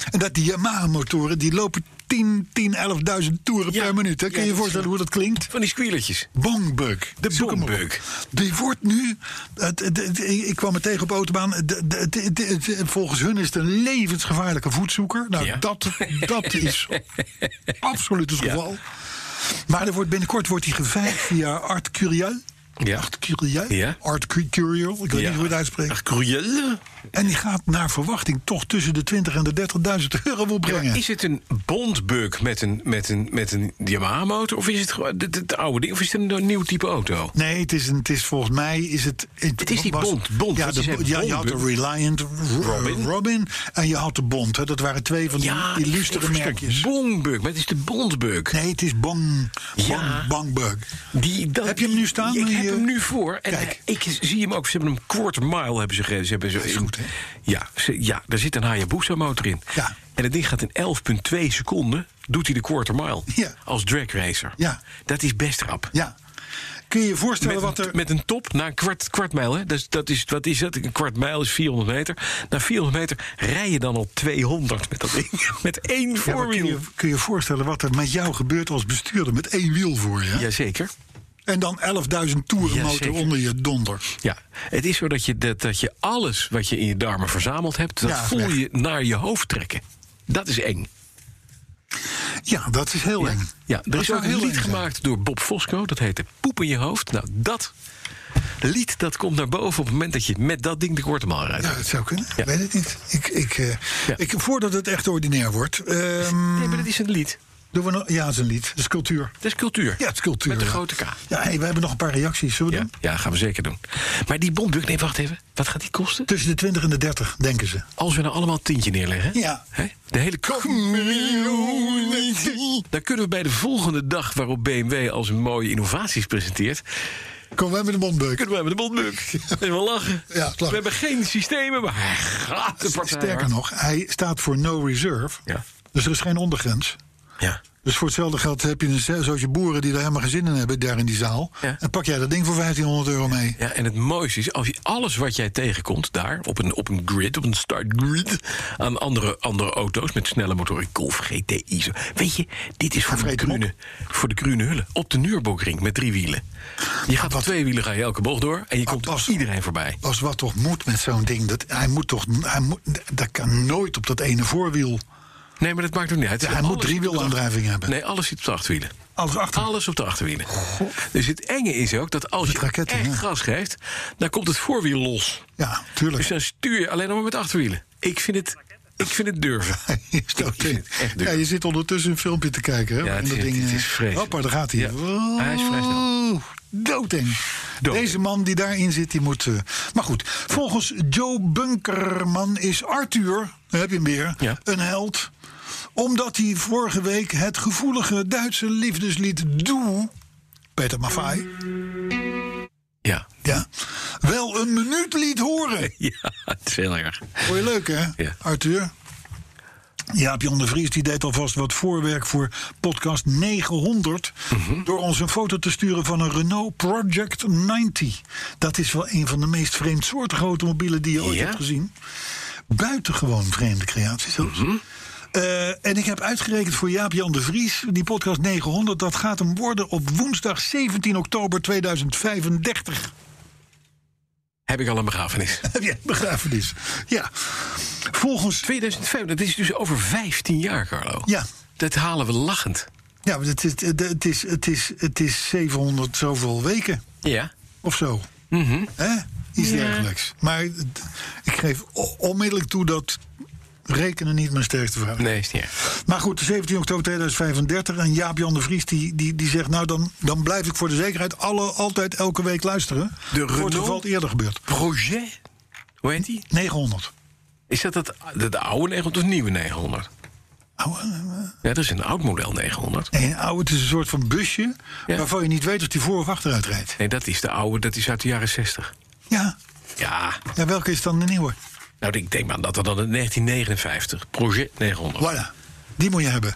En dat die Yamaha-motoren, die lopen 10, 10 11.000 toeren Ja. per minuut. Hè? Kun Ja, je je dat voorstellen hoe dat klinkt? Van die squealertjes. Bongbug. De Zoek hem op. bongbug. Die wordt nu... het- het- het- ik kwam het tegen op de autobaan. De- de- het- het- het- volgens hun is het een levensgevaarlijke voetzoeker. Nou, Ja. dat, dat (laughs) is absoluut het geval. Maar er wordt, binnenkort wordt hij geveild via Art Curiel. Ja. Art Curiel? Ja. Art Cu- Curiel, ik weet niet hoe je het uitspreekt. Ach, cruelle. En die gaat naar verwachting toch tussen de 20 en de 30.000 euro opbrengen. Is het een bondbuk met een, met een, met een Yamaha-motor? Of is het gewoon het, het oude ding? Of is het een nieuw type auto? Nee, het is, een, het is volgens mij... Is het, Het is die was- Bond, Bond, ja, wat de, je zei, ja, je had Bond. de Reliant Ro- Robin. Robin. en je had de Bond. Hè. Dat waren twee van die ik- illustere ik verstond merkjes. Bongbuk, maar het is de bondbuk. Nee, het is Bong, bong, Ja. Bongbug. Die, dat, Heb je hem nu staan? Ik Die, heb eh, hem nu voor. En eh, kijk. ik zie hem ook. Ze hebben hem quarter mile hebben ze ge- ze hebben ze is in- goed, hè? Ja, ze- ja, daar zit een Hayabusa motor in. Ja. En het ding gaat in 11,2 seconden. Doet hij de quarter mile. Ja. Als drag racer. Ja. Dat is best rap. Ja. Kun je je Met voorstellen een, wat er... met een top na een kwart, kwart mijl. Hè? Dus dat is, wat is dat? Een kwart mijl is 400 meter. Na 400 meter rij je dan al 200 met dat ding. (laughs) Met één Ja, maar kun, voorwiel. je, kun je je voorstellen wat er met jou gebeurt als bestuurder met één wiel voor je? Jazeker. En dan 11.000 Ja, toeren motor zeker. onder je donder. Ja, het is zo dat je, dat, dat je alles wat je in je darmen verzameld hebt... dat Ja, voel weg. je naar je hoofd trekken. Dat is eng. Ja, dat is heel eng. Ja, er Dat is zou ook een heel lied eng zijn. gemaakt door Bob Fosco. Dat heette Poep in je hoofd. Nou, dat lied dat komt naar boven op het moment dat je met dat ding de korte maal rijdt. Ja, Nou, dat zou kunnen. Ja. Ik weet het niet. Ik, ik, eh, Ja. ik, voordat het echt ordinair wordt, ehm, Nee, maar dat is een lied. doen we nog. Ja, het is een lied. Het is cultuur. Dat is cultuur. Ja, het is cultuur. Met de ja. grote K. Ja, hey, we hebben nog een paar reacties. Zullen we Ja, doen? ja, gaan we zeker doen. Maar die bondbuk, nee, wacht even. Wat gaat die kosten? Tussen de 20 en de 30, denken ze. Als we nou allemaal een tientje neerleggen. hè? Ja. Hè? De hele community. Dan kunnen we bij de volgende dag waarop BMW als een mooie innovaties presenteert. Kom wij met de mondbeuk. kunnen we met de bondbuk. En we lachen. Ja, het lachen. We hebben geen systemen, maar hij gaat de partij. Sterker hard. nog, hij staat voor no reserve. Ja. Dus er is geen ondergrens. Ja. Dus voor hetzelfde geld heb je een zo- zootje boeren die er helemaal geen zin in hebben, daar in die zaal. Ja. En pak jij dat ding voor 1500 euro mee. Ja, en het mooiste is, als je alles wat jij tegenkomt daar, op een, op een grid, op een startgrid, aan andere, andere auto's met snelle motoren, Golf GTI. Zo. Weet je, dit is voor de, vreet hem groene, voor de groene hullen. Op de Nürburgring met drie wielen. Je gaat op twee wielen, ga je elke bocht door en je komt Bas. iedereen voorbij. Als wat toch moet met zo'n ding. Dat, hij moet toch. Hij moet, dat kan nooit op dat ene voorwiel. Nee, maar dat maakt ook niet uit. Ja, hij Alles moet drie zit op de wielaandrijving hebben. Nee, alles zit op de achterwielen. Alles achter. Alles op de achterwielen. Dus het enge is ook dat als je raketten, echt ja. gas geeft, dan komt het voorwiel los. Ja, tuurlijk. Dus dan stuur je alleen nog maar met achterwielen. Ik vind het, ik vind het durven. (laughs) Is het ook Ik vind het echt ja, duur. je zit ondertussen een filmpje te kijken. Hè? Ja, het en dat is- ding, het eh, is vreselijk. Hoppa, daar gaat hij. Ja, hij is vrij snel. Oeh, Doodeng. Doodeng. Deze man die daarin zit, die moet... eh, maar goed, volgens Joe Bunkerman is Arthur, daar heb je hem weer, Ja. een held. Omdat hij vorige week het gevoelige Duitse liefdeslied Doe... Peter Maffay, Ja. ja, wel een minuut liet horen. ja, het is heel erg. Vond je leuk, hè, Ja. Arthur? Jaap Jan de Vries die deed alvast wat voorwerk voor podcast 900... Mhm. door ons een foto te sturen van een Renault Project 90. Dat is wel een van de meest vreemdsoortige automobielen die je ooit Ja. hebt gezien. Buitengewoon vreemde creatie zelfs. Mhm. Eh, en ik heb uitgerekend voor Jaap Jan de Vries, die podcast 900... dat gaat hem worden op woensdag 17 oktober 2035. Heb ik al een begrafenis. (laughs) Heb jij begrafenis? Ja. Volgens... 2005, dat is dus over 15 jaar, Carlo. Ja, Dat halen we lachend. Ja, maar het is, het, is, het, is, het is 700 zoveel weken Ja. of zo. Mhm. Hè? Iets dergelijks. Maar het- ik geef o- onmiddellijk toe dat rekenen niet mijn sterkste vraag is. Nee, is niet erg. Maar goed, 17 oktober 2035 en Jaap-Jan de Vries die, die, die zegt... nou, dan, dan blijf ik voor de zekerheid alle, altijd elke week luisteren. voor Renault? het geval het eerder gebeurt. Roger? Hoe heet die? 900. Is dat het, de, de oude 900 of nieuwe 900? Oude, Ja, dat is een oud model 900. eh, nee, een oude, het is een soort van busje Ja. waarvan je niet weet of die voor of achteruit rijdt. Nee, dat is de oude, dat is uit de jaren 60. Ja. Ja, ja, welke is dan de nieuwe? nou ik denk maar dat dat dan in 1959, Projet 900. Voilà. Die moet je hebben.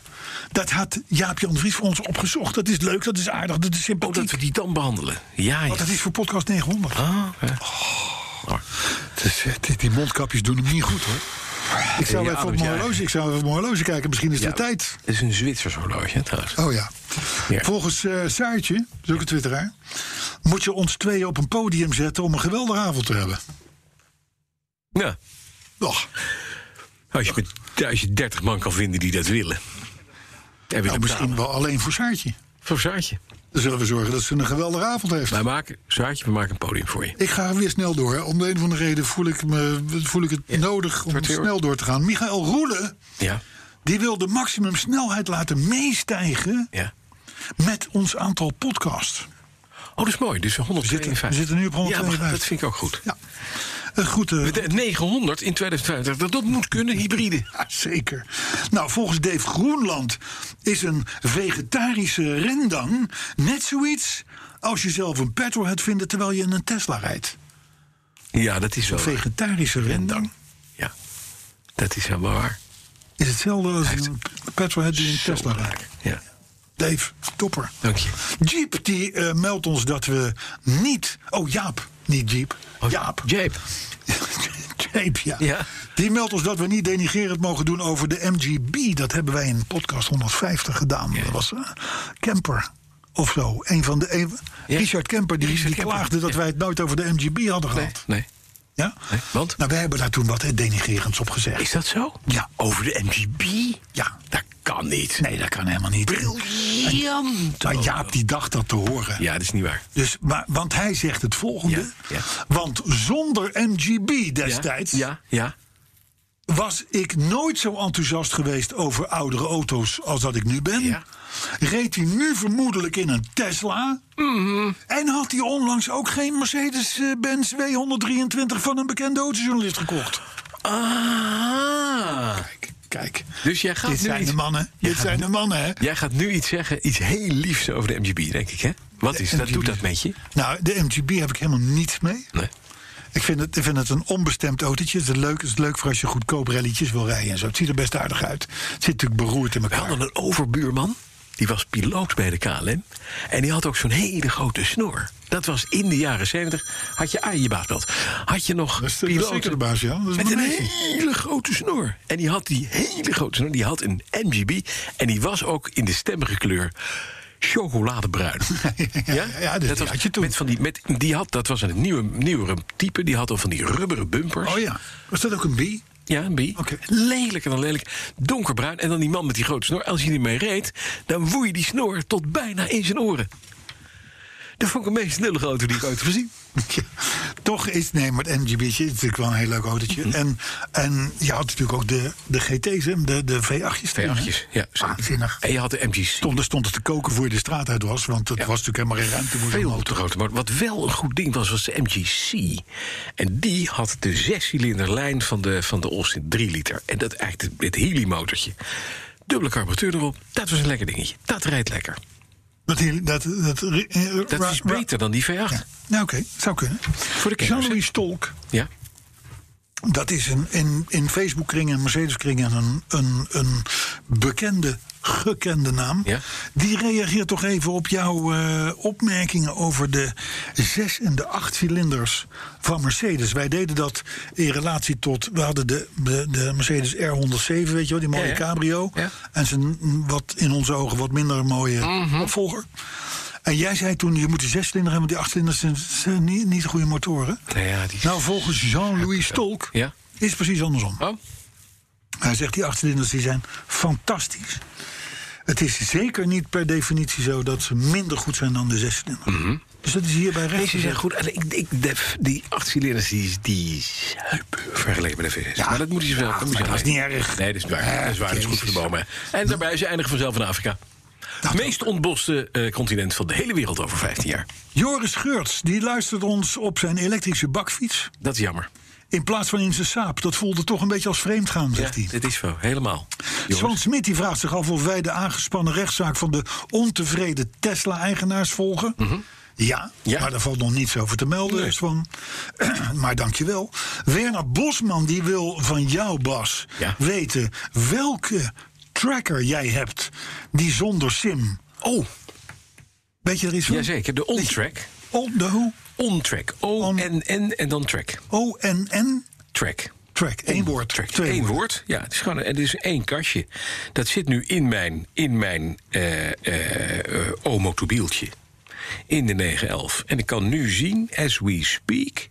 Dat had Jaapje Andries voor ons opgezocht. Dat is leuk, dat is aardig, dat is Oh, dat sympathiek. we die dan behandelen. Ja, ja. Want dat is voor podcast 900. Ah, ja. Oh. Het is- het is- die mondkapjes doen hem niet goed hoor. Ik zou, Ja, even op dus mijn ja. horloge, ik zou even op mijn horloge kijken, misschien is het Ja. weer tijd. Het is een Zwitsers horloge hè, trouwens. Oh ja. Ja. Volgens eh Saartje, dat is ook een twitteraar... moet je ons tweeën op een podium zetten om een geweldige avond te hebben. Ja, Och, als je met 1030 man kan vinden die dat willen. Heb je nou, misschien wel alleen voor Saartje. Voor Saartje. Dan zullen we zorgen dat ze een geweldige avond heeft. Wij maken, Saartje, we maken een podium voor je. Ik ga weer snel door. Om de een of andere reden voel ik, me, voel ik het nodig om wordt heel- snel door te gaan. Michael Roelen, Ja, die wil de maximumsnelheid laten meestijgen... ja. met ons aantal podcasts. Oh, dat is mooi. Dus We 152. zitten nu op Ja, maar dat 152. vind ik ook goed. Ja, Eh, een goede... De- de 900 in 2050, dat, dat moet kunnen, hybride. Ja, zeker. Nou, volgens Dave Groenland is een vegetarische rendang net zoiets als je zelf een petrolhead vindt terwijl je in een Tesla rijdt. Ja, dat is wel waar. Vegetarische rendang Ja, dat is helemaal waar. is hetzelfde als een petrolhead die in een Zo Tesla rijdt. belangrijk. Ja, Dave, topper. dank je. Jeep die eh, meldt ons dat we niet. Oh, Jaap, niet Jeep. Oh, Jaap. Jaap. (laughs) Jeep, ja. Ja. Die meldt ons dat we niet denigrerend mogen doen over de MGB. Dat hebben wij in podcast 150 gedaan. Dat was eh, Kemper of zo. Een van de, een- Ja. Richard Kemper die, Richard die Kemper, klaagde dat ja. wij het nooit over de MGB hadden Nee, gehad. nee. Ja? Nee, want? Nou, wij hebben daar toen wat eh, denigrerends op gezegd. Is dat zo? Ja. Over de MGB? Ja. Dat kan niet. Nee, dat kan helemaal niet. Briljant. Nou, Jaap die dacht dat te horen. Ja, dat is niet waar. Dus, maar, want hij zegt het volgende. Ja, ja. Want zonder MGB destijds Ja, ja. was ik nooit zo enthousiast geweest over oudere auto's als dat ik nu ben. Ja. Reed hij nu vermoedelijk in een Tesla. Mhm. En had hij onlangs ook geen Mercedes-Benz W123 van een bekende autojournalist gekocht. Ah. Kijk, Dus jij gaat dit nu zijn iets... de mannen. Dit zijn de mannen, hè? Jij gaat nu iets zeggen, iets heel liefs over de MGB, denk ik, hè? Wat is dat? MGB. Doet dat met je? Nou, de MGB heb ik helemaal niets mee. Nee. Ik vind het, ik vind het een onbestemd autootje. Het is leuk, het is leuk voor als je goedkoop rallytjes wil rijden en zo. Het ziet er best aardig uit. Het zit natuurlijk beroerd in We elkaar. hadden een overbuurman. Die was piloot bij de KLM. En die had ook zo'n hele grote snor. Dat was in de jaren 70. Had je aan je baas belt. Had je nog Dat is- dat is piloot zeker de baas, ja. Dat is met een mijn neefje. hele grote snor. En die had die hele grote snor. Die had een MGB. En die was ook in de stemmige kleur chocoladebruin. (laughs) ja, dat had je toen. Met van die, met, die had, dat was een nieuwe, nieuwere type. Die had al van die rubberen bumpers. Oh ja, was dat ook een B? Ja, een bie. Oké. Lelijk en dan lelijk. Donkerbruin. En dan die man met die grote snor. Als hij ermee reed, dan woei je die snor tot bijna in zijn oren. Dat vond ik de meest lullige auto die ik ooit heb gezien. (laughs) Ja, Toch is, nee, maar het MGB'tje is natuurlijk wel een heel leuk autootje. Mhm. en, en je had natuurlijk ook de, de GT's, hè, de, de V8's. toen, hè? V8'tjes, ja, zeker. Waanzinnig. En je had de MG's. Stond, er stond het te koken voor je de straat uit was, want het was natuurlijk helemaal geen ruimte voor zo'n Veel auto. te grote motor. Wat wel een goed ding was, was de MGC. En die had de zescilinder lijn van de, van de Austin 3 liter. En dat eigenlijk het, het Healy-motortje. Dubbele carburateur erop. Dat was een lekker dingetje. Dat rijdt lekker. Dat, heel- dat, dat, eh, Dat ra- is ra- beter dan die V8. Nou oké, zou kunnen. Voor de kenners, Jean-Louis Stolk, Ja. dat is een, in, in Facebook-kringen en Mercedes-kringen een, een, een bekende, gekende naam. Ja. Die reageert toch even op jouw eh, opmerkingen over de zes en de acht cilinders van Mercedes. Wij deden dat in relatie tot. We hadden de, de, de Mercedes R107, weet je wel, die mooie Ja, ja. cabrio. Ja. En zijn wat in onze ogen wat minder mooie Mhm. opvolger. En jij zei toen, je moet die zes hebben, want die acht cilinders zijn, zijn niet, niet goede motoren. Nou ja, die... Nou, volgens Jean-Louis Stolk Ja. is het precies andersom. Oh? Hij zegt die achtcilinders die zijn fantastisch. Het is zeker niet per definitie zo dat ze minder goed zijn dan de zescilinder. Mhm. Dus dat is hierbij recht. Deze zijn gezegd. goed. En ik, ik, de, die achtcilinders die, die zuipen vergeleken met de V6. maar dat moet je ze wel. dat moet je maar wel dat is weten. niet erg. Nee, dat is waar. dat is waar. Dat is goed voor de Jezus. bomen. En daarbij ze eindigen vanzelf in Afrika. Het meest ontboste eh, continent van de hele wereld over 15 jaar. Joris Geurts die luistert ons op zijn elektrische bakfiets. Dat is jammer. In plaats van in zijn saap. Dat voelde toch een beetje als vreemdgaan, Ja, zegt hij. dit is zo, helemaal. Jongens. Swan Smit die vraagt zich af of wij de aangespannen rechtszaak van de ontevreden Tesla-eigenaars volgen. Ja, Mhm. Ja. maar daar valt nog niets over te melden, Nee. Swan. (clears throat) maar dankjewel. Werner Bosman die wil van jou, Bas, Ja. weten welke tracker jij hebt die zonder SIM. Oh, Weet je er iets van? jazeker, de on-track. Oh, de hoe? On-track, On- O-N-N en dan track. ONN Track. track. Eén woord. Track. Twee Eén woorden. woord. Ja, het is gewoon en het is één kastje. Dat zit nu in mijn, in mijn eh eh eh, Omotobieltje. In de 911. En ik kan nu zien, as we speak,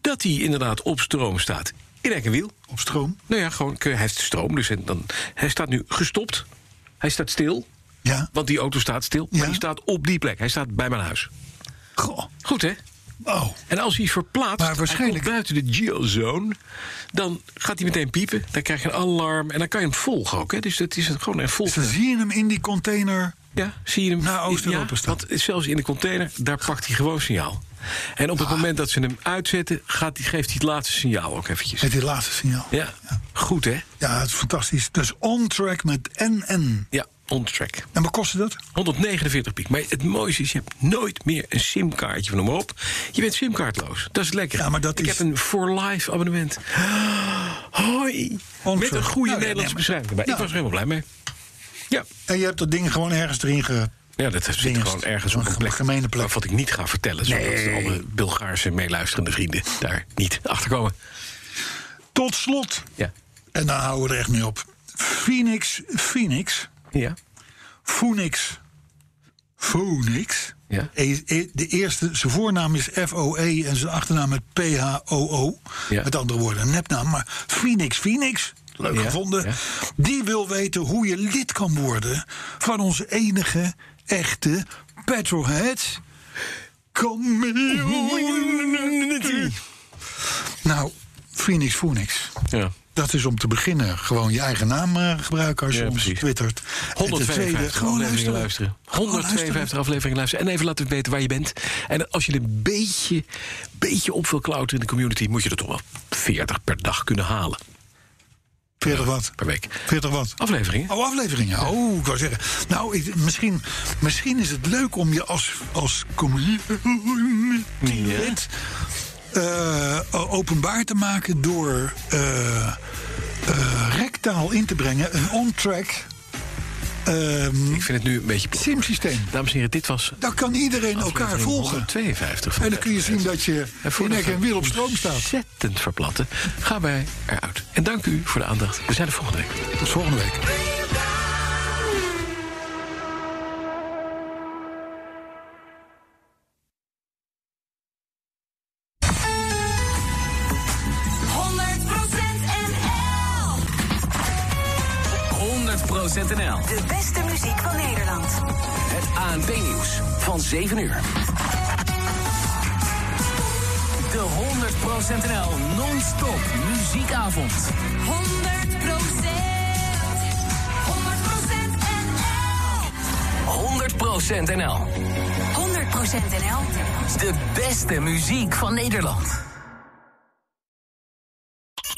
dat hij inderdaad op stroom staat. In elk wiel. Op stroom. Nou ja, gewoon, hij heeft stroom. Dus en dan, hij staat nu gestopt. Hij staat stil. Ja. Want die auto staat stil. Ja. Maar die staat op die plek. Hij staat bij mijn huis. Goh. Goed, hè? Oh. En als hij verplaatst, Maar waarschijnlijk- hij komt buiten de geozone, dan gaat hij meteen piepen. Dan krijg je een alarm en dan kan je hem volgen ook. Hè? Dus dat is gewoon een volg. Ze zien hem in die container. Ja, zie je hem Naar Oost-Europa ja, staan. Want zelfs in de container, daar pakt hij gewoon signaal. En op het Ah. moment dat ze hem uitzetten, gaat hij, geeft hij het laatste signaal ook eventjes. Met dit laatste signaal. Ja, goed hè? Ja, het is fantastisch. Dus on track met NN. Ja, on track. En wat kostte dat? 149 piek. Maar het mooiste is, je hebt nooit meer een simkaartje van hem op. Je bent simkaartloos. Dat is lekker. Ja, maar dat ik is- heb een for life abonnement. Hoi. Ontzorg. Nou Met een goede ja, Nederlandse nee, maar- beschrijving. erbij. Ja. Ik was er helemaal blij mee. Ja. En je hebt dat ding gewoon ergens erin ge... Ja, dat zit Dingest. gewoon ergens op Een een plek, gemene plek. Wat ik niet ga vertellen, zodat alle Bulgaarse meeluisterende vrienden daar niet achter komen. Tot slot. Ja. En dan houden we er echt mee op. Phoenix, Phoenix, Ja. Phoenix, Phoenix. Ja. E- e- De eerste, zijn voornaam is F-O-E en zijn achternaam met P-H-O-O. Ja. Met andere woorden, een nepnaam. Maar Phoenix, Phoenix, leuk Ja, gevonden. ja. Die wil weten hoe je lid kan worden van onze enige echte Petrolhead Community. Nou, Phoenix, Phoenix. ja. Dat is om te beginnen gewoon je eigen naam eh, gebruiken als je Ja, ons precies. twittert. En ten tweede, 152 gewoon afleveringen luisteren. luisteren. Gewoon luisteren. 152 afleveringen luisteren. En even laten weten waar je bent. En als je een beetje, beetje op wil klauteren in de community... moet je er toch wel 40 per dag kunnen halen. 40 wat? Per week. 40 wat? Afleveringen. Oh, afleveringen. Oh, ik wou zeggen. Nou, ik- misschien, misschien is het leuk om je als, als community-lid eh, o- openbaar te maken door eh, eh, rectaal in te brengen. Een on-track ehm, Ik vind het nu een beetje... plat. simsysteem. Dames en heren, dit was... Dan kan iedereen elkaar aflevering volgen. 152. En dan kun je zien dat je voor nek en wiel op stroom staat. Ontzettend verplatten. Gaan wij eruit. En dank u voor de aandacht. We zijn er volgende week. Tot volgende week. NL. De beste muziek van Nederland. Het ANP-nieuws van 7 uur. De 100% NL non-stop muziekavond. 100%. 100% 100% NL. NL. 100% NL. De beste muziek van Nederland.